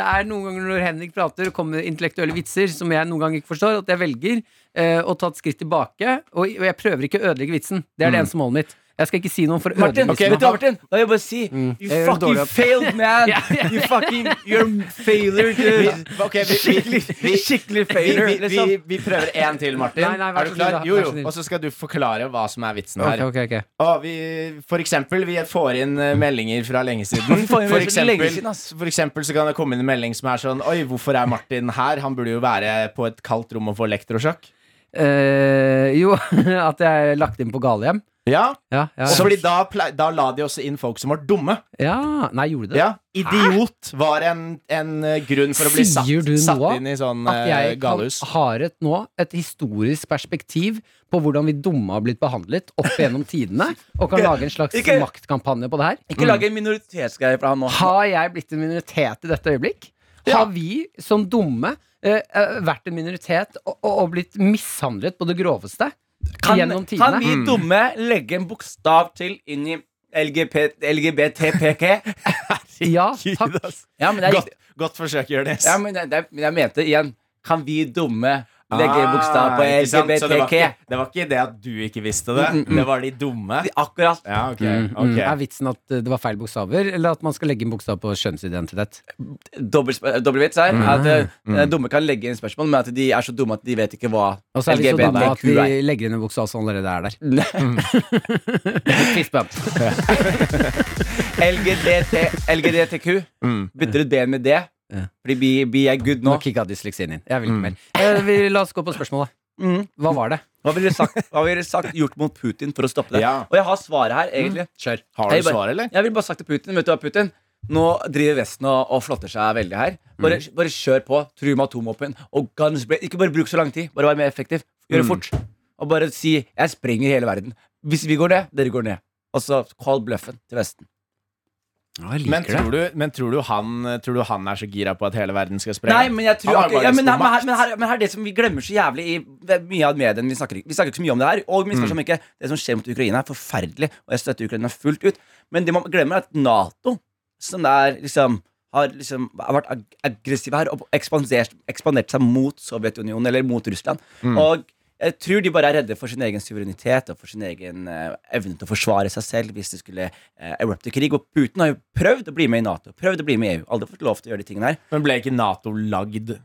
B: er noen ganger når Henrik prater og kommer med intellektuelle vitser som jeg noen ganger ikke forstår, at jeg velger eh, å ta et skritt tilbake, og, og jeg prøver ikke å ødelegge vitsen. Det er det eneste målet mitt. Jeg skal ikke si noe for å
C: Martin,
B: ødelegge
C: okay, vet du hva, Martin? Da vil jeg bare si
D: Mm.
C: You
B: Jeg gjør det
C: fucking
B: dårlig.
C: failed, man! You fucking, You're a failure, dude.
D: Ok, vi, vi,
C: Skikkelig, skikkelig
D: vi,
C: failure.
D: vi,
C: liksom.
D: vi, vi prøver én til, Martin.
B: Nei, nei, vær
D: er du
B: så snill,
D: klar?
B: da.
D: Jo,
B: Vær
D: jo.
B: så snill.
D: Og så skal du forklare hva som er vitsen
B: Ok,
D: her.
B: ok, ok.
D: Å, vi, for eksempel, vi får inn eh, meldinger fra lenge siden.
C: Vi får inn
D: For
C: meldinger fra lenge siden,
D: eksempel,
C: ass.
D: for eksempel så kan det komme inn en melding som er sånn Oi, hvorfor er Martin her? Han burde jo være på et kaldt rom og få elektrosjokk.
B: Eh, jo, at jeg er lagt inn på galehjem.
D: Ja,
B: Ja, ja,
D: og fordi da, ple- da la de også inn folk som var dumme.
B: ja. Nei, gjorde du det?
D: Ja, Idiot var en, en eh, grunn for å bli satt,
B: Sier du
D: satt
B: noe?
D: inn i sånn
B: At jeg
D: eh,
B: kan,
D: galehus.
B: har et, nå et historisk perspektiv på hvordan vi dumme har blitt behandlet opp gjennom tidene, og kan lage en slags
C: Ikke-
B: maktkampanje på det her.
D: Mm.
C: Ikke lag en minoritetsgreie fra han nå.
B: Har jeg blitt en minoritet i dette øyeblikk? Har vi som dumme eh, eh, vært en minoritet og, og, og blitt mishandlet på det groveste gjennom
C: kan
B: tidene?
C: vi
D: Mm.
C: dumme legge en bokstav til inn i LGBT, LGBTPK?
B: Mm. Ja, takk.
C: Ja, men det er
D: Godt,
C: riktig.
D: godt forsøk, Jonis.
C: Ja, men det, det, men jeg mente igjen Kan vi dumme legge en bokstav på
D: Ah, ikke sant? Så det var,
C: LGBTK?
D: ikke, det var ikke det at du ikke visste det, det var de dumme.
C: Akkurat.
D: Ja, ok.
B: Mm,
D: ok.
B: er vitsen at eh, det var feil bokstaver, eller at man skal legge en bokstav på kjønnsidentitet?
C: Dobbel, vits her.
D: Mm.
C: At eh, dumme kan legge inn spørsmål, men at de er så dumme at de vet ikke hva
B: Og så er vi så dumme at
C: LGBTQ er.
B: vi legger inn en bokstav som allerede er der.
C: Mm.
B: Fistbump.
C: LGBT, LGBTQ.
D: Mm.
C: Bytter ut B-en med D.
B: Ja.
C: Fordi vi, vi er good
B: Nå
C: nå.
B: kicka dysleksien inn. Jeg vil ikke mer. Eh, vi, la oss gå på spørsmålet.
C: Mm.
B: Hva var det?
C: Hva ville dere sagt, hva ville dere sagt gjort mot Putin for å stoppe det?
D: Ja. Mm.
C: Og jeg har svaret her, egentlig.
B: Kjør.
D: Har
C: Jeg
D: du
C: bare-
D: svar, eller?
C: Jeg ville bare sagt til Putin Vet du hva, Putin? Nå driver Vesten og, og flotter seg veldig her. Bare, bare kjør på. Tru med atomvåpen. Og guns bla- Ikke bare bruk så lang tid. Bare vær mer effektiv. Gjør det fort. Og bare si 'jeg sprenger hele verden'. Hvis vi går ned, dere går ned. Og så call bløffen til Vesten.
B: Ja, jeg liker
D: Men
B: det.
D: tror du, men tror du, han, tror du han er så gira på at hele verden skal sprenge?
C: Nei, men jeg
D: Han
C: tror
D: har
C: akkurat-
D: bare
C: ja,
D: lyst
C: men,
D: på
C: her- men, her,
D: makt.
C: men, her, men her er det som vi glemmer så jævlig i mye av mediene. Vi snakker, ikke- vi snakker ikke så mye om det her. Og
D: Mm.
C: misforstå meg ikke, det som skjer mot Ukraina, er forferdelig, og jeg støtter Ukraina fullt ut. Men det man glemmer, er at Nato, som er liksom har liksom vært ag- aggressive her og ekspandert, ekspandert seg mot Sovjetunionen eller mot Russland.
D: Mm.
C: Og jeg tror de bare er redde for sin egen suverenitet og for sin egen eh, evne til å forsvare seg selv hvis det skulle eh, erupte krig. Og Putin har jo prøvd å bli med i Nato, prøvd å bli med i EU. Aldri fått lov til å gjøre de tingene her.
D: Men ble ikke Nato lagd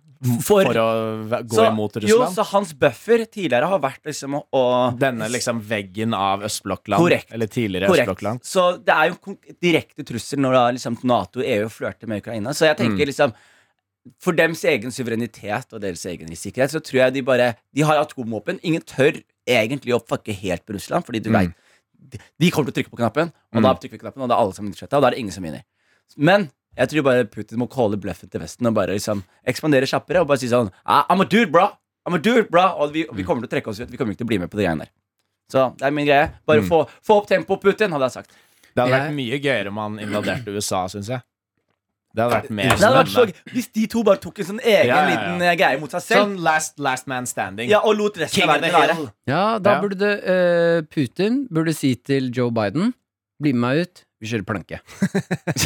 C: For-
D: for, å v- gå imot
C: Jo,
D: Russland?
C: så hans buffer tidligere har vært liksom å, å
D: Denne liksom veggen av østblokkland?
C: Korrekt.
D: Eller tidligere
C: Korrekt.
D: østblokkland?
C: Så det er jo en konk- direkte trussel når da liksom Nato og EU flørter med Ukraina. Så jeg tenker liksom For dems egen suverenitet og deres egen sikkerhet, så tror jeg de bare De har atomvåpen. Ingen tør egentlig å fucke helt på Russland, fordi du vet de, de kommer til å trykke på knappen, og da trykker vi knappen, og da er alle sammen utsletta, og da er det ingen som vinner. Men jeg tror bare Putin må calle bløffen til Vesten og bare liksom ekspandere kjappere og bare si sånn "Ah, I'm a dude, bro! I'm a dude, bro! Og vi, vi kommer til å trekke oss ut. Vi kommer ikke til å bli med på de greiene der. Så det er min greie. Bare få, få opp tempoet, Putin, hadde jeg sagt.
D: Det hadde
B: Jeg-
D: vært mye gøyere om han invaderte USA, syns jeg. Det hadde vært mer
C: Det hadde vært så,
D: spennende.
C: hvis de to bare tok en sånn egen
D: Ja, ja, ja.
C: liten eh, greie mot seg selv,
D: Sånn last, last man standing.
C: ja, og lot resten
D: King
C: av
D: of the
C: verden være.
D: hill.
B: Ja, da
D: Ja.
B: burde det, eh, Putin burde si til Joe Biden Bli med meg ut, vi kjører planke.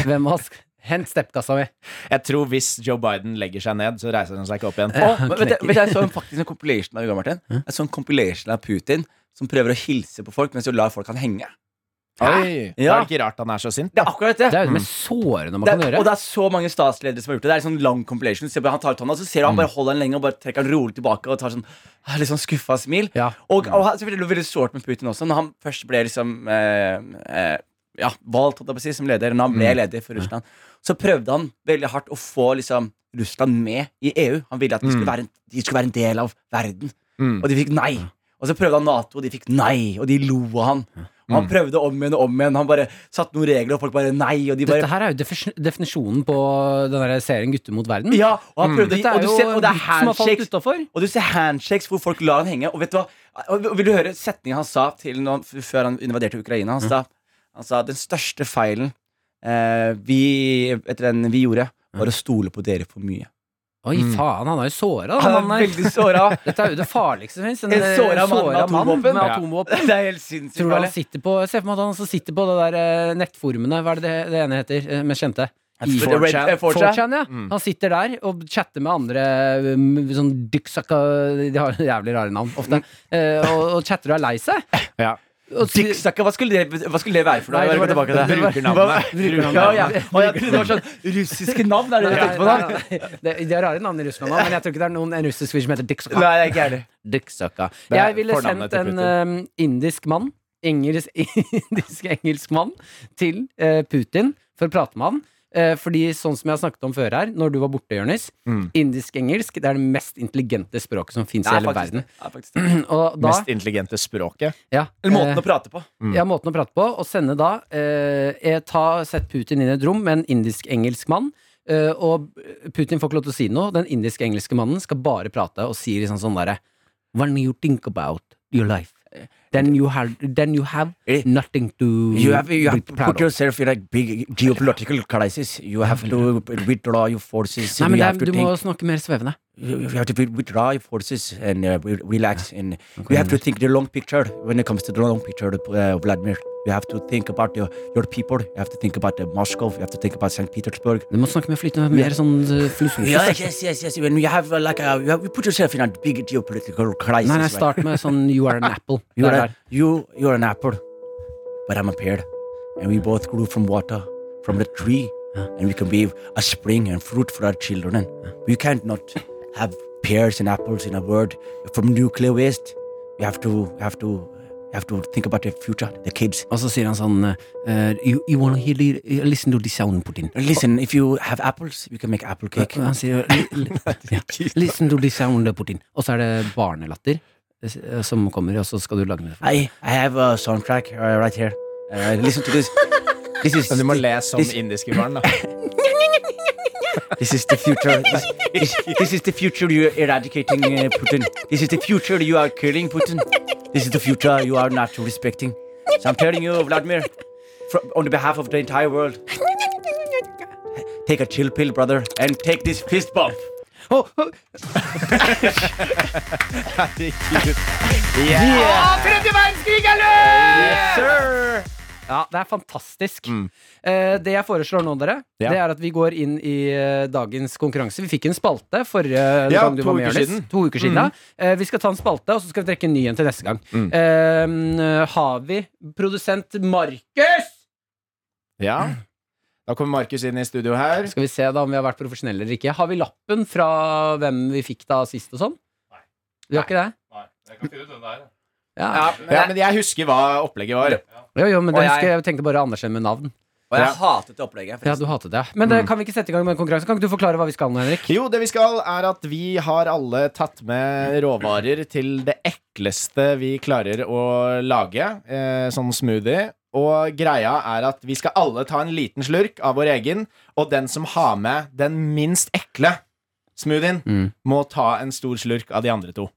B: Hvem av oss? Hent steppkassa mi.
D: Jeg tror hvis Joe Biden legger seg ned, så reiser han seg ikke opp igjen.
C: Og, men vet, du- vet du, jeg så en faktisk en compilation av Uga Martin. Jeg så en sånn compilation av Putin som prøver å hilse på folk, mens du lar folk han henge.
D: Oi,
C: Ja.
D: Er det ikke rart han er så sint?
C: Det er akkurat det.
B: Det er jo det mest sårende man
C: Mm. Det
B: kan
C: er,
B: gjøre.
C: og det er så mange statsledere som har gjort det. Det er en sånn lang compilation. Se på, han tar ut hånda, så ser du han bare holder den lenge og bare trekker den rolig tilbake og tar sånn ah, litt sånn skuffa smil.
B: Ja.
C: Og, og han- selvfølgelig det var veldig sårt med Putin også, når han først ble liksom eh, eh, ja, valgt holdt jeg på å si, som leder, når han
B: Mm.
C: ble leder for Russland, så prøvde han veldig hardt å få liksom E
B: Mm.
D: Mm.
C: Russland med i EU. Han ville at de skulle være en, de skulle være en del av verden. Og de fikk nei. Og Og så prøvde han Nato, og de fikk nei, og de lo av han. Og
B: Mm.
C: han prøvde om igjen og om igjen. Han bare satte noen regler, og folk bare nei. Og de bare
B: Dette her er jo defis- definisjonen på den der serien Gutter mot verden.
C: Ja, og han prøvde
B: Mm. Dette er
C: og, du
B: jo
C: ser, og det
B: en
C: er
B: gutt som har falt
C: handshakes
B: utafor.
C: Og du ser handshakes hvor folk lar han henge. Og vet du hva? Og Vil du høre setningen han sa til når han, f- før han invaderte Ukraina?
B: Mm.
C: Han sa, han sa den største feilen eh, vi, etter den vi gjorde,
B: Mm.
C: var å stole på dere for mye.
B: Oi, faen, han er jo såra,
C: Mm. Han
B: den
C: er
B: mannen
C: veldig
B: der.
C: såra.
B: Dette er jo det farligste som fins. En
C: En
B: eh,
C: såra mann med
B: såra mann
C: atomvåpen.
B: med
C: Ja.
B: atomvåpen.
C: Det er helt sinnssykt.
B: Tror du han
C: farlig.
B: sitter på Se for meg at han også sitter på det der eh, nettforumene. Hva er det det, det ene heter? eh, Med kjente? I-
C: For- Red- eh, 4chan.
B: 4chan, ja. Han sitter der og chatter med andre um, sånn dykksakka De har jævlig rare navn ofte.
C: Mm.
B: eh, og, og chatter og er lei seg.
D: Ja.
B: Og s-
C: Dicksucker, hva, skulle det- hva skulle det være for noe?
B: Nei, det
C: Jeg
B: var
C: må gå
B: det-
C: tilbake til
B: det var-
C: Hva-
B: Brukernavnet.
C: Ja, ja. Og jeg trodde det var sånn russiske navn. Er det du
B: Nei,
C: tenkte på da?
B: nei, nei. Det- De har rare navn i Russland, også, men jeg tror ikke det er noen en russisk fyr som heter Dykksakka.
C: Nei, det er ikke ærlig.
B: Dykksakka.
D: Det er
B: Jeg ville
D: fornavnet
B: sendt
D: til
B: en
D: Putin.
B: um, indisk mann, engelsk, indisk engelsk mann, til eh, Putin for å prate med han. Eh, fordi sånn som jeg har snakket om før her, når du var borte, Jonis
D: Mm.
B: Indisk-engelsk det er det mest intelligente språket som fins i
C: Nei,
B: hele
C: faktisk
B: verden.
C: det. Nei, faktisk det.
B: Og da
D: Mest intelligente språket.
B: ja,
C: Eller måten
B: eh,
C: å prate på.
D: Mm.
B: Ja, måten å prate på. Og sende da eh, eh, ta, Sett Putin inn i et rom med en indisk-engelsk mann. Eh, og Putin får ikke lov til å si noe. Den indisk-engelske mannen skal bare prate og sier liksom sånn derre When you think about your life, then you have, then you have nothing to
C: Eh, You have, you have
B: be proud
C: put
B: of.
C: yourself in a big geopolitical crisis. You have to withdraw your forces.
B: Nei, men
C: you,
B: det
C: have
B: er,
C: to
B: du må
C: think,
B: snakke mer svevende.
C: you you have to withdraw your forces and uh, re- relax. And you have to think the long picture. When it comes to the long picture, uh, Vladimir, you have to think about your, your people. You have to think about uh, Moscow. You have to think about St. Petersburg.
B: Du må snakke mer flytende, mer sånn eh,
C: Yeah,
B: filosofisk.
C: yes, yes, yes. When you have uh, like a, you, have, you put yourself in a big geopolitical crisis.
B: Nei, nei,
C: right?
B: start med sånn You are an apple.
C: You
B: Det
C: are,
B: er
C: a, you, you are an apple, but I'm a pear. And we both grew from water, from the tree. And we can be a spring and fruit for our children. We can't not have pears and apples in a world from nuclear waste. You have to, have to, you have to think about the future, the kids.
B: Og så sier han sånn eh, you, you wanna hear, listen to the sound, Putin.
C: Listen, if you have apples, you can make apple cake.
B: Han sier li- li- ja. Listen to the sound, Putin. Og så er det barnelatter eh, som kommer, og så skal du lage noe.
C: I, I have a soundtrack uh, right here. Uh, listen to this. This is
D: Men du må le som
C: This-
D: indiske barn, da.
C: This is the future. This, this- this is the future you are eradicating uh, Putin. This is the future you are killing Putin. This is the future you are not respecting. So I'm telling you, Vladimir, fr on the behalf of the entire world, take a chill pill, brother, and take this fist bump.
B: Oh, oh, Ja, det er fantastisk. Eh, det jeg foreslår nå, dere,
D: Mm. Ja.
B: det er at vi går inn i eh, dagens konkurranse. Vi fikk en spalte forrige
D: Ja,
B: gang du
D: to
B: var med,
D: uker
B: Jonis.
D: siden. Mm.
B: To uker siden. Eh, vi skal ta en spalte, og så skal vi trekke en ny en til neste gang. Eh, har vi produsent Markus?
D: Ja. Da kommer Markus inn i studio her.
B: Skal vi se da om vi har vært profesjonelle eller ikke. Har vi lappen fra hvem vi fikk da sist og sånn? Vi har ikke det?
E: Nei, jeg kan finne ut hvem det er.
B: Ja.
D: Ja, men jeg husker hva opplegget var.
B: Jo, jo, men
C: Og
B: det
C: jeg-
B: husker jeg jeg tenkte bare å anerkjenne med navn.
C: Og
D: jeg
C: hatet det opplegget.
B: Ja, du hatet det. Men
C: Mm.
B: det, kan vi ikke sette i gang med en konkurranse? Kan ikke du forklare hva vi skal nå, Henrik?
D: Jo, det vi skal, er at vi har alle tatt med råvarer til det ekleste vi klarer å lage, eh, sånn smoothie. Og greia er at vi skal alle ta en liten slurk av vår egen, og den som har med den minst ekle smoothien,
B: Mm.
D: må ta en stor slurk av de andre to.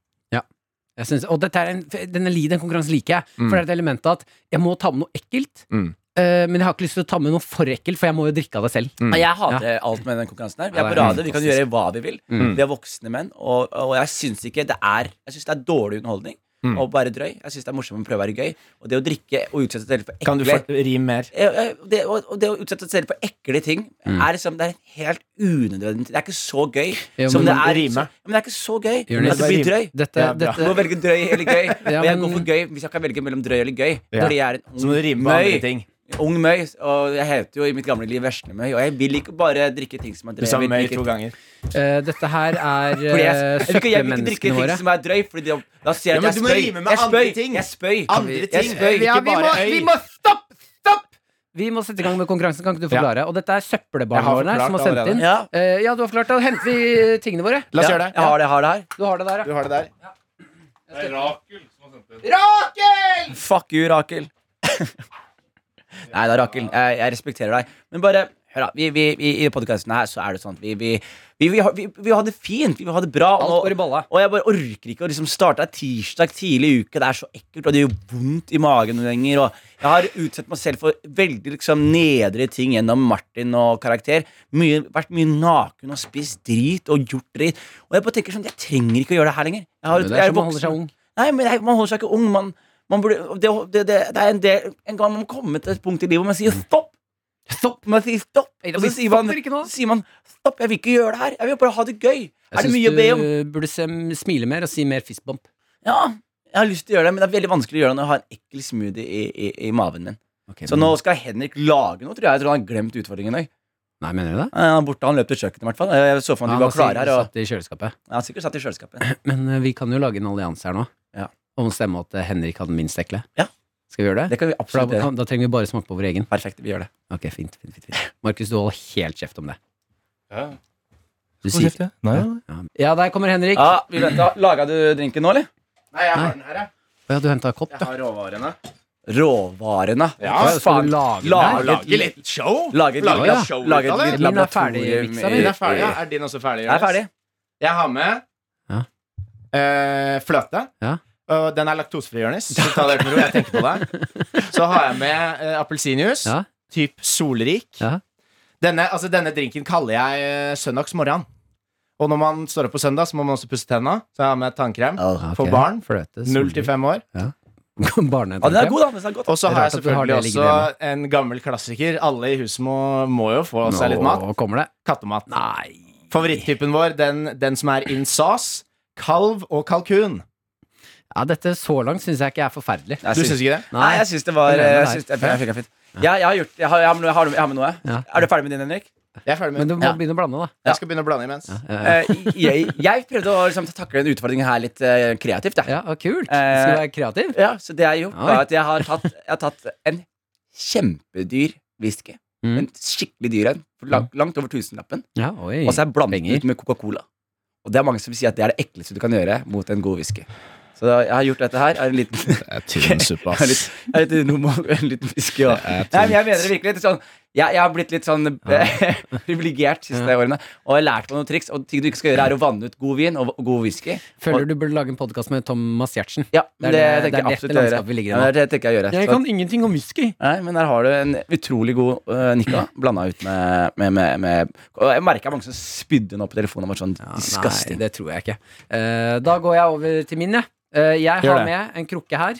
B: Jeg synes, og dette er en, denne li- den konkurransen liker jeg.
C: Mm.
B: For det er et element at jeg må ta med noe ekkelt.
D: Mm.
B: eh, men jeg har ikke lyst til å ta med noe for ekkelt, for jeg må jo drikke av det selv.
C: Jeg hater alt med den konkurransen her. Vi
B: Ja, det
C: er Mm. på
B: er
C: radio, vi kan
B: fantastisk.
C: gjøre hva vi vil. Vi er voksne menn, og, og jeg syns ikke det er Jeg synes det er dårlig underholdning. Og bare drøy. Jeg syns det er morsomt å prøve å være gøy. Og det å drikke og utsette seg selv for
D: Kan du
C: ekle
D: få rim mer?
C: Eh, eh, det, og, og det å utsette seg selv for ekle ting
D: Mm.
C: er liksom, det er helt unødvendig. Det er ikke så gøy
B: Jo,
C: som
B: men
C: det er.
D: rime.
C: Så, men det er ikke så gøy
B: Jonis,
C: at det blir drøy.
B: Dette,
D: Ja, bra.
C: Du
B: dette,
C: må velge drøy eller gøy.
B: Ja,
C: og
B: men-
C: jeg går for gøy hvis jeg kan velge mellom drøy eller gøy.
D: Ja.
C: Fordi jeg er en
D: Så må du
C: ung
D: rime med andre
C: møy.
D: ting.
C: Ung møy. Og jeg heter jo i mitt gamle liv Veslemøy. Og jeg vil ikke bare drikke ting som er
D: Du
C: drøy.
D: sa
C: Jeg vil
D: møy
C: drikke-
D: to ganger.
B: eh, dette her er
C: Fordi jeg,
B: eh,
C: jeg, vil ikke, jeg vil ikke drikke
B: søppelmenneskene
C: ting
B: våre.
C: som er drøy, Fordi da, da sier jeg
D: Ja, men
C: at
D: du må
C: jeg spøy.
D: rime med
C: Jeg
D: andre
C: spøy.
D: ting.
C: Jeg spøy.
D: Andre ting.
C: Jeg spøy.
D: Ja,
C: Ikke
D: vi må-
C: bare
D: vi
C: øy.
D: må
B: stopp! Stopp! Vi må sette i gang med konkurransen. Kan ikke du forklare? Og dette er søppelbarna
D: Jeg har
B: våre
D: forklart
B: som har sendt
D: allerede.
B: inn.
C: Ja.
B: Eh, ja, du har forklart. Da henter vi eh, tingene våre.
D: La oss
C: Ja,
D: gjøre det.
C: Jeg har det, jeg har det her.
B: Du har det der,
D: Du
B: ja.
D: har det der.
E: Det er Rakel som har sendt
D: Rakel!
C: Fuck you, Rakel. Nei da, Rakel. Jeg, jeg respekterer deg. Men bare hør, da. Vi, vi, vi, I podkasten her så er det sånn at vi Vi, vi, vi, har- vi, vi har det fint. Vi har det bra.
B: Alt går i balla.
C: Og jeg bare orker ikke å liksom starte en tirsdag tidlig i uke. Det er så ekkelt, og det gjør vondt i magen noen ganger. Og jeg har utsatt meg selv for veldig liksom nedre ting gjennom Martin og karakter. Mye, vært mye naken og spist drit og gjort drit. Og jeg bare tenker sånn, jeg trenger ikke å gjøre det her lenger. Jeg har,
B: Men det er
C: jeg
B: sånn man holder seg ung.
C: Nei, men det er- man holder seg ikke ung. Man, man burde, det, det, det, det er en del En gang man må komme til et punkt i livet hvor man sier stopp. Stopp, Man sier stopp,
B: Nei, da
C: og
B: blir
C: så sier man,
B: stopper ikke nå.
C: så sier man stopp. Jeg vil ikke gjøre det her. Jeg vil bare ha det gøy.
B: Jeg
C: er det
B: syns
C: mye å be om?
B: Du burde se, smile mer og si mer fistbump.
C: Ja, jeg har lyst til å gjøre det, men det er veldig vanskelig å gjøre det når jeg har en ekkel smoothie i, i, i maven min. Så nå skal Henrik lage noe, tror jeg. Jeg tror han har glemt utfordringen i dag.
B: Nei, mener du det?
C: Eh, Han er borte, han løp til kjøkkenet i hvert fall. Eh, Jeg så for meg at vi
B: han
C: var klare her, og
B: satt i kjøleskapet.
C: Ja, han har sikkert satt i kjøleskapet.
B: Men eh, vi kan jo lage en allianse her nå.
C: Ja.
B: Om å stemme at eh, Henrik hadde minst ekle.
C: Ja.
B: Skal vi gjøre det?
C: Det kan vi
B: For
C: absolutt
B: da,
C: gjøre.
B: kan, da trenger vi bare smake på vår egen.
C: Perfekt, vi gjør det.
B: Ok, fint, fint, fint, fint. Markus, du holder helt kjeft om det. Du
E: Hold kjeft,
B: sier
E: ja. Nei,
B: Ja.
E: nei.
B: ja. ja, der kommer Henrik.
C: Ja, vi venta. Laga du drinken nå, eller?
D: Nei, jeg
B: Nei.
D: har den her, jeg.
B: Å Ja, du henta kopp,
D: Jeg
B: da.
D: har råvarene.
C: Råvarene.
D: Ja,
C: Hva
B: skal
C: faen?
B: du lage den
C: Lage
B: her?
C: et-
D: Lage litt show?
C: Lage et
D: Lage
B: litt
C: lite
D: show ut
C: lage
D: av
C: et
D: det?
C: litt
B: Min er
C: laboratorium
B: ferdig miksa,
C: i-
B: min.
D: Den er ferdig, ja. Er din også ferdig?
C: Den er
D: Jonas?
C: ferdig.
D: Jeg har med
B: Ja.
D: eh, fløte.
B: Ja.
D: Og den er laktosefri, Jonis. Så ta det helt med ro. Jeg tenker på deg. Så har jeg med eh, appelsinjuice.
B: Ja.
D: Typ solrik.
B: Ja.
D: Denne, altså, denne drinken kaller jeg eh, søndagsmorgen. Og når man står opp på søndag, så må man også pusse tenna. Så jeg har med tannkrem.
B: Ja,
D: For
B: ok.
D: barn,
B: Fløte.
D: Null til fem år.
B: Barne,
C: Ja, den er god, da. Den er godt.
D: Og så
B: Det er
D: har
B: rart
D: jeg
B: at du har
D: selvfølgelig
B: det liggende
D: også en gammel klassiker. Alle i huset må, må jo få seg litt mat.
B: Nå kommer det.
D: Kattemat.
B: Nei.
D: Favoritttypen vår, den, den som er in sauce, kalv og kalkun.
B: Ja, dette så langt syns jeg ikke er forferdelig.
C: Jeg
D: Du
C: syns-
D: syns ikke det?
C: Nei, jeg syns det var eh,
B: Jeg mener
C: jeg
B: det.
C: syns, jeg, jeg, fikk den fint. Ja, jeg har gjort jeg har, jeg har, jeg har, jeg har med noe. jeg.
B: Ja.
C: Er du ferdig med din, Henrik?
D: Jeg er ferdig
B: Men
D: med
B: du må
D: ja.
B: begynne å blande, da.
D: Jeg skal begynne å blande imens.
B: Ja,
C: Eh, jeg, jeg prøvde å liksom, takle den utfordringen her litt eh, kreativt. Jeg.
B: ja og kult.
C: Eh,
B: Skal du være kreativ?
C: Ja, så det jeg har gjort,
B: Oi.
C: var at jeg har tatt, jeg har tatt en kjempedyr whisky.
B: Mm.
C: En skikkelig dyr en. for Langt, langt over tusenlappen.
B: Ja, oi.
C: Og så er jeg
B: Mm.
C: blandet
B: Penger.
C: ut med Coca-Cola. Og det er mange som sier at det er det ekleste du kan gjøre mot en god whisky. Så jeg har gjort dette her. Er en liten
D: Tynn suppe,
C: Jeg er litt, jeg er litt normal, en liten whisky også.
D: Det er tungt.
C: Nei, men jeg mener det virkelig. litt Sånn, jeg, jeg har blitt litt sånn eh, privilegert de siste årene. Og jeg har lært meg noen triks. Og ting du ikke skal gjøre, er å vanne ut god vin og god whisky.
B: Føler du burde lage en podkast med Thomas Giertsen.
C: Ja,
B: Det er
C: men det,
B: det- det er
C: tenker jeg
B: dette
C: absolutt å gjøre.
B: landskapet vi ligger i
C: Ja,
B: nå.
C: det er det tenker jeg å gjøre. Så-
B: ingenting om whisky.
C: Nei, men der har du en utrolig god øh, nikka
B: Mm.
C: blanda ut med, med, med, med Og jeg merka mange som spydde nå på telefonen. Og var sånn
B: Nei,
C: disgusting.
B: det tror jeg ikke. Eh, da går jeg over til min, jeg. Eh, jeg har
C: Gjør det.
B: med en krukke her.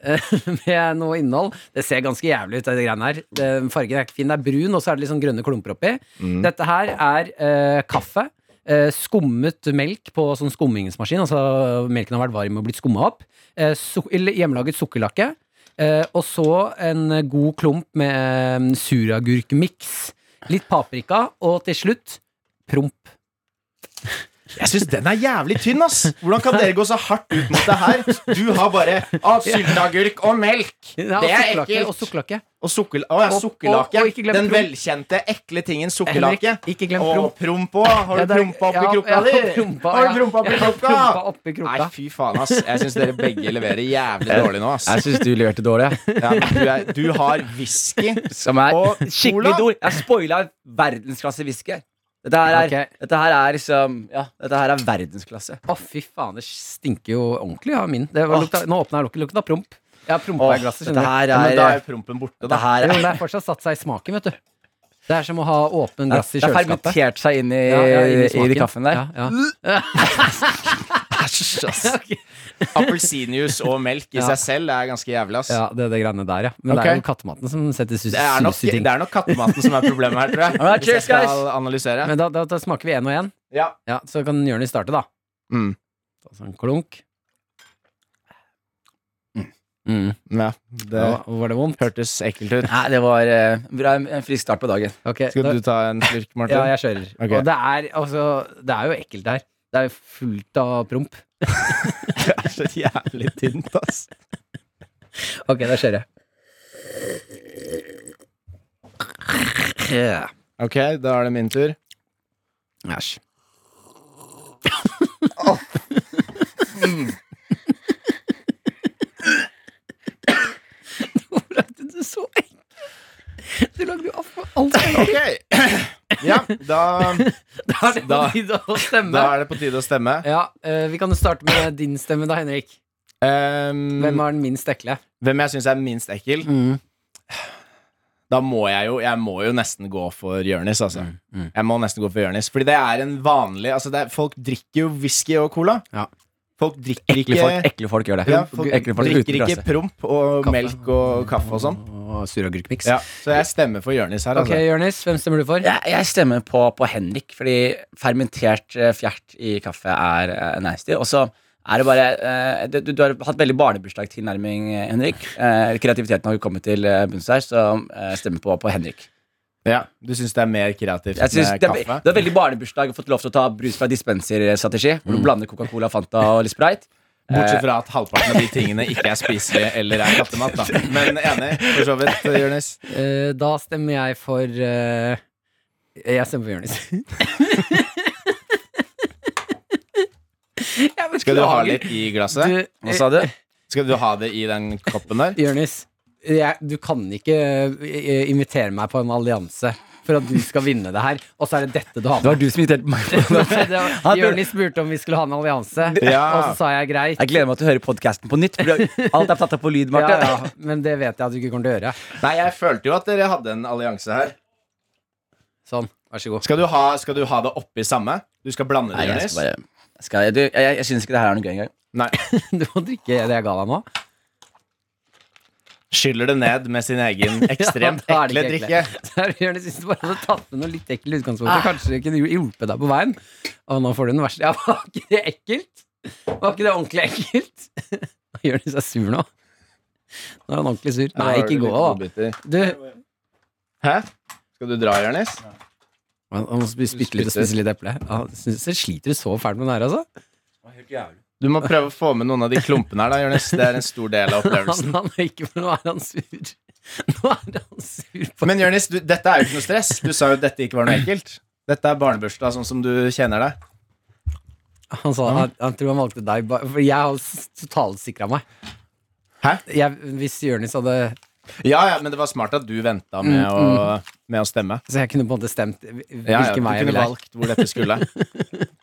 B: eh, Med noe innhold. Det ser ganske jævlig ut, det greiene her. Det- Fargen er ikke fin. Det er brun, og så er det litt sånn grønne klumper oppi.
C: Mm.
B: Dette her er eh, kaffe. eh, skummet melk på sånn skummingsmaskin. Altså melken har vært varm og blitt skumma opp. eh, su- eller hjemmelaget sukkerlakke. eh, og så en god klump med um, suragurkmiks. Litt paprika, og til slutt promp.
D: Jeg syns den er jævlig tynn, ass! Hvordan kan dere gå så hardt ut mot det her? Du har bare ah, sylteagurk og melk!
B: Ja,
D: Det er
B: sukkerlake Og
D: ekkelt!
B: sukkerlake.
D: Og sukkel, å, ja,
B: Og-
D: sukkerlake.
B: og- og ikke glem
D: Den
B: promp.
D: velkjente, ekle tingen
B: Henrik,
D: sukkerlake.
B: ikke glem
D: Og
B: promp.
D: promp òg. Har
B: Ja,
D: du
B: det er-
D: prompa oppi
B: ja,
D: krukka
B: ja,
D: di?
B: prompa,
D: Har
B: ja.
D: du prompa oppi
B: Ja, prompa
D: krukka?
B: oppi krukka.
D: Nei, fy faen, ass. Jeg syns dere begge leverer jævlig dårlig nå, ass.
C: Jeg syns du leverte dårlig. jeg.
D: Ja, men du, er, du har whisky.
C: Som er
D: Og
C: skikkelig
D: cola?
C: dårlig. Jeg spoila verdensklasse whisky. her. Dette her, er,
B: Ok.
C: dette her er liksom Ja, dette her er verdensklasse.
B: Å, fy faen, det stinker jo ordentlig av min. Det var
C: Åh.
B: lukta, nå åpna jeg lukket, lukta promp. Jeg har prompa
C: Åh,
B: i glasset.
C: dette
B: skjønner
C: her
D: Ja, men
C: er
D: da er prompen borte,
C: Dette
D: da.
B: du.
C: her
B: Jo,
C: er
B: men Det har fortsatt satt seg i smaken, vet du. Det er som å ha åpen
C: det
B: glass i
C: har
B: kjøleskapet.
C: fermentert seg inn i,
B: Ja, ja, inn
C: i,
B: smaken.
C: de kaffen der.
B: Ja, ja.
D: Æsj, ass. Appelsinjuice og melk i
B: Ja.
D: seg selv er ganske jævlig, ass.
B: ja, det er det greiene der, ja. Men det
D: Ok.
B: er jo kattematen som setter sus
D: Det er, nok,
B: sus i ting.
D: det er nok kattematen som er problemet her, tror jeg.
C: Alright,
D: Hvis jeg
C: cheers,
D: skal
C: guys.
D: analysere.
B: Men da, da, da smaker vi én og én.
D: Ja.
B: Ja, så kan Jonis starte, da.
D: Mm.
B: Ta Sånn klunk. Mm.
D: ja. Det
B: Ja, var det vondt?
D: hørtes ekkelt ut.
C: Nei, det var eh, bra, en frisk start på dagen.
B: Ok,
D: Skal
B: da-
D: du ta en slurk, Martin?
B: Ja, jeg kjører.
D: Ok.
B: Og det er, altså, det er jo ekkelt her. Det er jo fullt av promp.
D: Det er så jævlig tynt, ass.
B: Ok, da kjører jeg.
D: Ok, da er det min tur.
B: Æsj.
D: Ok! Ja, da,
B: Da er det på
D: Da-
B: tide å stemme.
D: da er det på tide å stemme.
B: Ja, eh, Vi kan jo starte med din stemme, da, Henrik.
D: Ehm,
B: Hvem har den minst ekle?
D: hvem jeg syns er minst ekkel? Da må jeg jo Jeg må jo nesten gå for Jonis, altså.
C: Mm,
D: Jeg må nesten gå for Jonis. Fordi det er en vanlig altså det er, Folk drikker jo whisky og cola.
B: Ja.
D: Folk drikker
C: Ekle
D: ikke
C: folk, ekle folk gjør det.
D: ja, folk
C: ekle folk uten
D: drikker
C: klasse.
D: ikke promp og
B: Kaffe.
D: melk og kaffe og sånn.
B: Og suragurkmiks.
D: Ja, så jeg stemmer for Jonis her,
B: Ok,
D: altså.
B: Jonis, hvem stemmer du for?
C: Jeg, jeg stemmer på, på Henrik, fordi fermentert eh, fjert i kaffe er eh, nasty. Og så er det bare eh, det, du, du har hatt veldig barnebursdagstilnærming, eh, Henrik. Eh, kreativiteten har jo kommet til eh, bunns her, så eh, jeg stemmer på, på Henrik.
D: Ja, du syns det er mer kreativt
C: Jeg synes
D: med
C: det, er,
D: kaffe?
C: det er veldig barnebursdag å fått lov til å ta brus fra dispenser-strategi, hvor du blander Coca-Cola, Fanta og litt Sprite.
D: Bortsett fra at halvparten av de tingene ikke er spiselige eller er kattemat, da. Men enig, for så vidt, Jonis.
B: Eh, da stemmer jeg for eh, Jeg stemmer for Jonis.
D: Skal du ha litt i glasset?
B: Du,
C: Hva sa du? eh,
D: Skal du ha det i den koppen der?
B: Jonis, jeg- du kan ikke eh, invitere meg på en allianse for at du skal vinne det her, og så er det dette du har
C: Det
B: med.
C: var du som inviterte meg. på det.
B: Det var- Jonis spurte om vi skulle ha en allianse,
D: Ja.
B: og så sa jeg greit.
C: Jeg gleder meg til å høre podkasten på nytt. For alt er tatt opp på lyd,
B: Ja,
C: Marte.
B: ja, men det vet jeg at du ikke kommer til å gjøre.
D: Nei, jeg følte jo at dere hadde en allianse her.
B: Sånn, vær så god.
D: Skal du ha, skal du ha det oppi samme? Du skal blande
C: Nei,
D: det,
C: jeg
D: Jonis?
C: skal bare jeg skal, jeg, jeg, jeg, syns ikke det her er noe gøy engang.
D: Nei.
B: Du må drikke det jeg ga deg nå.
D: Skyller det ned med sin egen ekstremt
B: Ja, da er
D: ekle
B: det ikke
D: drikke.
B: Der, Jonis, hvis du bare hadde tatt med noe litt ekkelt i utgangspunktet,
D: Ah.
B: kanskje det kunne hjulpet deg på veien. Å, nå får du den verste. Ja, var ikke det ekkelt? Var ikke det ordentlig ekkelt? Jonis er sur nå. Nå er han ordentlig sur. Nei, ikke gå, da. Du,
D: Hæ? Skal du dra, Jonis?
B: han han må spi- spytte litt og spise litt eple. Ja, synes jeg sliter du så fælt med den her, altså?
D: Du må prøve å få med noen av de klumpene her, da, Jonis. Det er en stor del av
B: Han,
D: opplevelsen.
B: han er ikke, nå er han sur. Nå er han sur på
D: Men Jonis, du- dette er jo ikke noe stress. Du sa jo at dette ikke var
B: Mm.
D: noe ekkelt. Dette er barnebursdag, sånn som du kjenner det.
B: Han sa han, han tror han valgte deg, ba- for jeg har s- totalsikra meg.
D: Hæ?
B: Jeg, hvis Jonis hadde
D: Ja, ja, men det var smart at du venta
B: Mm,
D: med, å- med å stemme.
B: Så jeg kunne på en måte stemt hvil-
D: Ja, ja,
B: hvilken vei jeg
D: du kunne
B: ville. her.
D: valgt hvor dette skulle.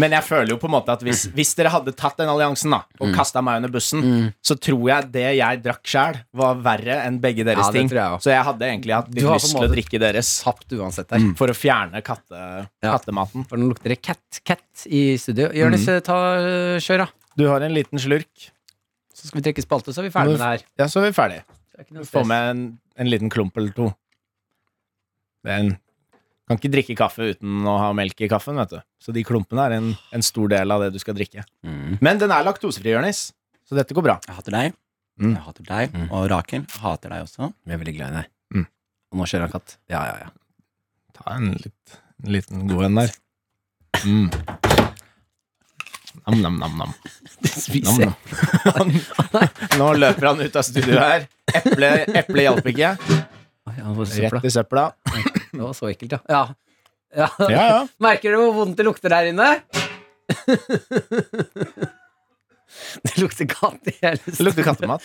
D: Men jeg føler jo på en måte at hvis, hvis dere hadde tatt den alliansen da
B: Mm.
D: og kastet kasta meg under bussen, så tror jeg det jeg drakk sjæl, var verre enn begge deres
B: Ja, det
D: ting.
B: tror jeg også.
D: Så jeg hadde egentlig hatt
B: Du
D: litt
B: har
D: lyst
B: på en
D: til å
B: måte
D: drikke deres
B: Tapt uansett der.
D: for å fjerne katte,
B: Ja.
D: kattematen.
B: For nå lukter det cat, cat i studio. Jonis,
D: Mm.
B: ta øh, kjør, da.
D: Du har en liten slurk,
B: Så skal vi trekke spalte, så er vi ferdig med det her.
D: ja, så er vi ferdig.
B: Det er ikke noe
D: Få
B: stress.
D: med en, en liten klump eller to. Det er en Kan ikke drikke kaffe uten å ha melk i kaffen, vet du. Så de klumpene er en, en stor del av det du skal drikke.
C: Mm.
D: Men den er laktosefri, Jonis, så dette går bra.
C: Jeg hater deg.
D: Mm.
C: Jeg hater deg. Og Rakel jeg hater deg også.
B: Jeg er veldig glad i deg.
D: Mm.
B: Og nå kjører han katt. Ja, ja, ja.
D: Ta en, litt, en liten god en der. Mm. Nam, nam, nam, nam.
B: Det
D: nam,
B: spiser jeg.
D: nam. Nå løper han ut av studioet her. Eple, eple hjalp ikke.
B: Oi, han var så søpla.
D: Rett i søpla.
B: Det var så ekkelt, ja. ja. ja.
D: Ja, ja.
B: Merker du hvor vondt det lukter der inne? det lukter katt i hele
D: Det lukter kattemat.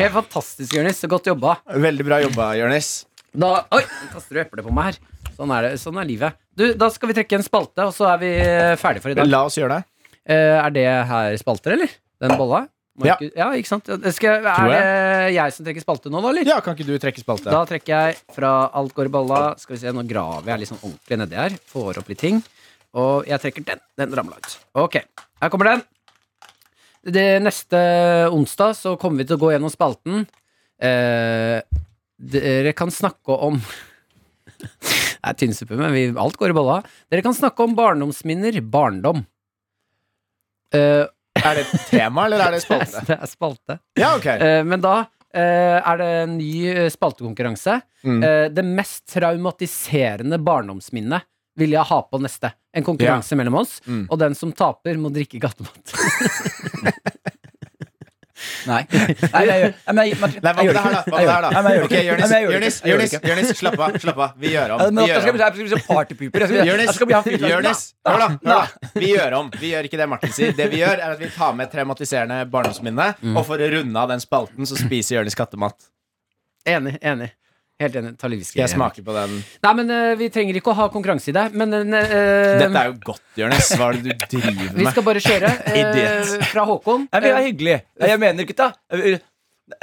B: Helt fantastisk, Jonis. Så godt jobba.
D: Veldig bra jobba, Jonis.
B: Da Oi! Nå kaster du eplet på meg her. Sånn er, det, sånn er livet. Du, Da skal vi trekke en spalte, og så er vi eh, ferdig for i dag.
D: La oss gjøre det.
B: Eh, er det her spalter, eller? Den bolla? Må
D: Ja.
B: ikke- ja, ikke sant? Skal, er
D: Tror
B: det
D: jeg.
B: jeg som trekker spalte nå, da, eller?
D: Ja, Kan ikke du trekke spalte?
B: Da trekker jeg fra alt går i balla. Skal vi se, Nå graver jeg litt sånn ordentlig nedi her. Får opp litt ting. Og jeg trekker den. Den ramla ut. Ok, her kommer den. Det neste onsdag så kommer vi til å gå gjennom spalten. Eh, dere kan snakke om Det er tynnsuppe, men vi, alt går i balla. Dere kan snakke om barndomsminner. Barndom. Eh,
D: Er det et tema, eller er det spalte?
B: det er spalte.
D: Ja, ok.
B: Eh, men da eh, er det en ny eh, spaltekonkurranse.
D: Mm.
B: Eh, det mest traumatiserende barndomsminnet vil jeg ha på neste. En konkurranse mellom oss,
D: Mm.
B: og den som taper, må drikke kattemat.
C: Nei. Nei, men jeg gjør Nei, men jeg- Martin,
D: Nei, hva
C: jeg
D: med
C: gjør
D: det her, da? Hva med det her, da?
C: Nei, men jeg gjør
D: Ok,
C: det ikke.
D: Jonis,
C: Nei, men jeg gjør det
D: Jonis,
C: ikke. Jeg gjør
D: Jonis,
C: det ikke.
D: Jonis, slapp av. slapp av Vi gjør
C: Ja,
D: om.
C: men
D: Vi
C: jeg
D: gjør
C: skal
D: om.
C: bli- jeg skal bli så partypooper. Jeg skal bli- jeg
D: Jonis,
C: skal bli han fyren som-
D: Jonis, hør da, hør da. Vi gjør om. Vi gjør ikke det Martin sier. Det vi gjør, er at vi tar med et traumatiserende barndomsminne, og for å runde av den spalten, så spiser Jonis kattemat.
B: Enig. enig Helt enig. Ta litt whisky.
D: Skal jeg smake på den?
B: Nei, men eh, vi trenger ikke å ha konkurranse i det. Men eh,
D: Dette er jo godt, Jonis. Hva er det du driver
B: vi
D: med?
B: skal bare kjøre eh,
C: Idiot.
B: fra Håkon.
C: Nei, men det
B: Eh,
C: er hyggelig. Nei, jeg mener, gutta. Er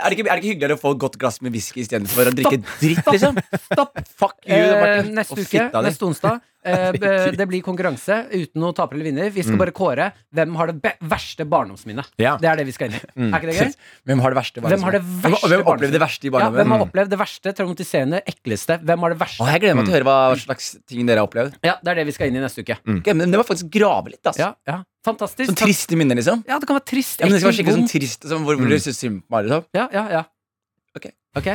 C: det, ikke, er det ikke hyggeligere å få et godt glass med whisky istedenfor å drikke dritt, liksom? Stopp! Fuck you,
B: Eh,
C: Martin.
B: neste
C: Og
B: uke,
C: fitta di.
B: neste onsdag. Eh, b- det blir konkurranse uten noen taper eller vinner. Vi
C: Mm.
B: skal bare kåre hvem har det be verste barndomsminnet.
D: Ja.
B: Det er det vi skal inn i.
C: Mm.
B: Er ikke det gøy?
C: Hvem har det verste
B: Hvem har det
C: barndommen?
B: verste
C: Hvem opplevde det verste
B: Ja,
C: i
B: hvem
C: barndommen?
B: har opplevd det verste, traumatiserende, ekleste? Hvem har det
C: Å,
B: verste?
C: jeg gleder meg til å høre hva slags ting dere har opplevd.
B: Ja, Det er det vi skal inn i neste uke.
C: Ok, men Det var faktisk grave litt. ass
B: Ja, ja. Fantastisk.
C: Sånn triste minner, liksom.
B: Ja, det kan være trist.
C: Ja, men det skal
B: ekkelt,
C: være skikkelig
B: vond.
C: sånn trist sånn, hvor, hvor du synes synd på meg. Liksom.
B: Ja, ja, ja.
C: Ok.
B: Ok.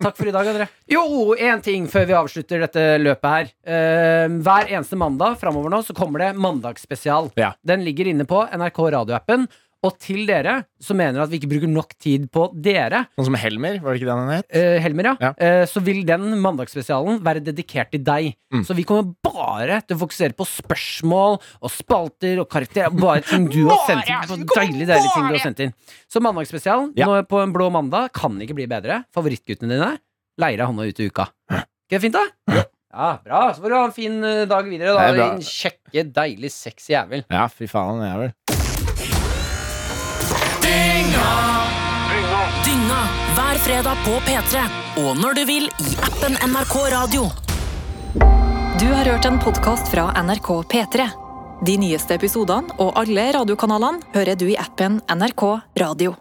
B: Takk for i dag, André. Jo, én ting før vi avslutter dette løpet her. Eh, hver eneste mandag framover nå så kommer det mandagsspesial.
D: Ja.
B: Den ligger inne på NRK radioappen. Og til dere som mener at vi ikke bruker nok tid på dere,
D: Noen som Helmer, var det ikke det han het?
B: eh, Helmer, ja,
D: Ja.
B: eh, så vil den mandagsspesialen være dedikert til deg.
D: Mm.
B: Så vi kommer bare til å fokusere på spørsmål og spalter og karakterer. Bare ting du har sendt inn. På deilig, deilig ting du har sendt inn. Så mandagsspesialen
D: Ja.
B: nå på en blå mandag kan ikke bli bedre. Favorittguttene dine leier deg hånda ut i uka. Ikke det fint, da? Ja, bra. Så får du ha en fin eh, dag videre, da.
D: Det er bra.
B: Din kjekke, deilig, sexy jævel.
D: Ja, fy faen, jeg er vel
E: Dynga. Hver fredag på P3. Og når du vil i appen NRK Radio.
A: Du har hørt en podkast fra NRK P3. De nyeste episodene og alle radiokanalene hører du i appen NRK Radio.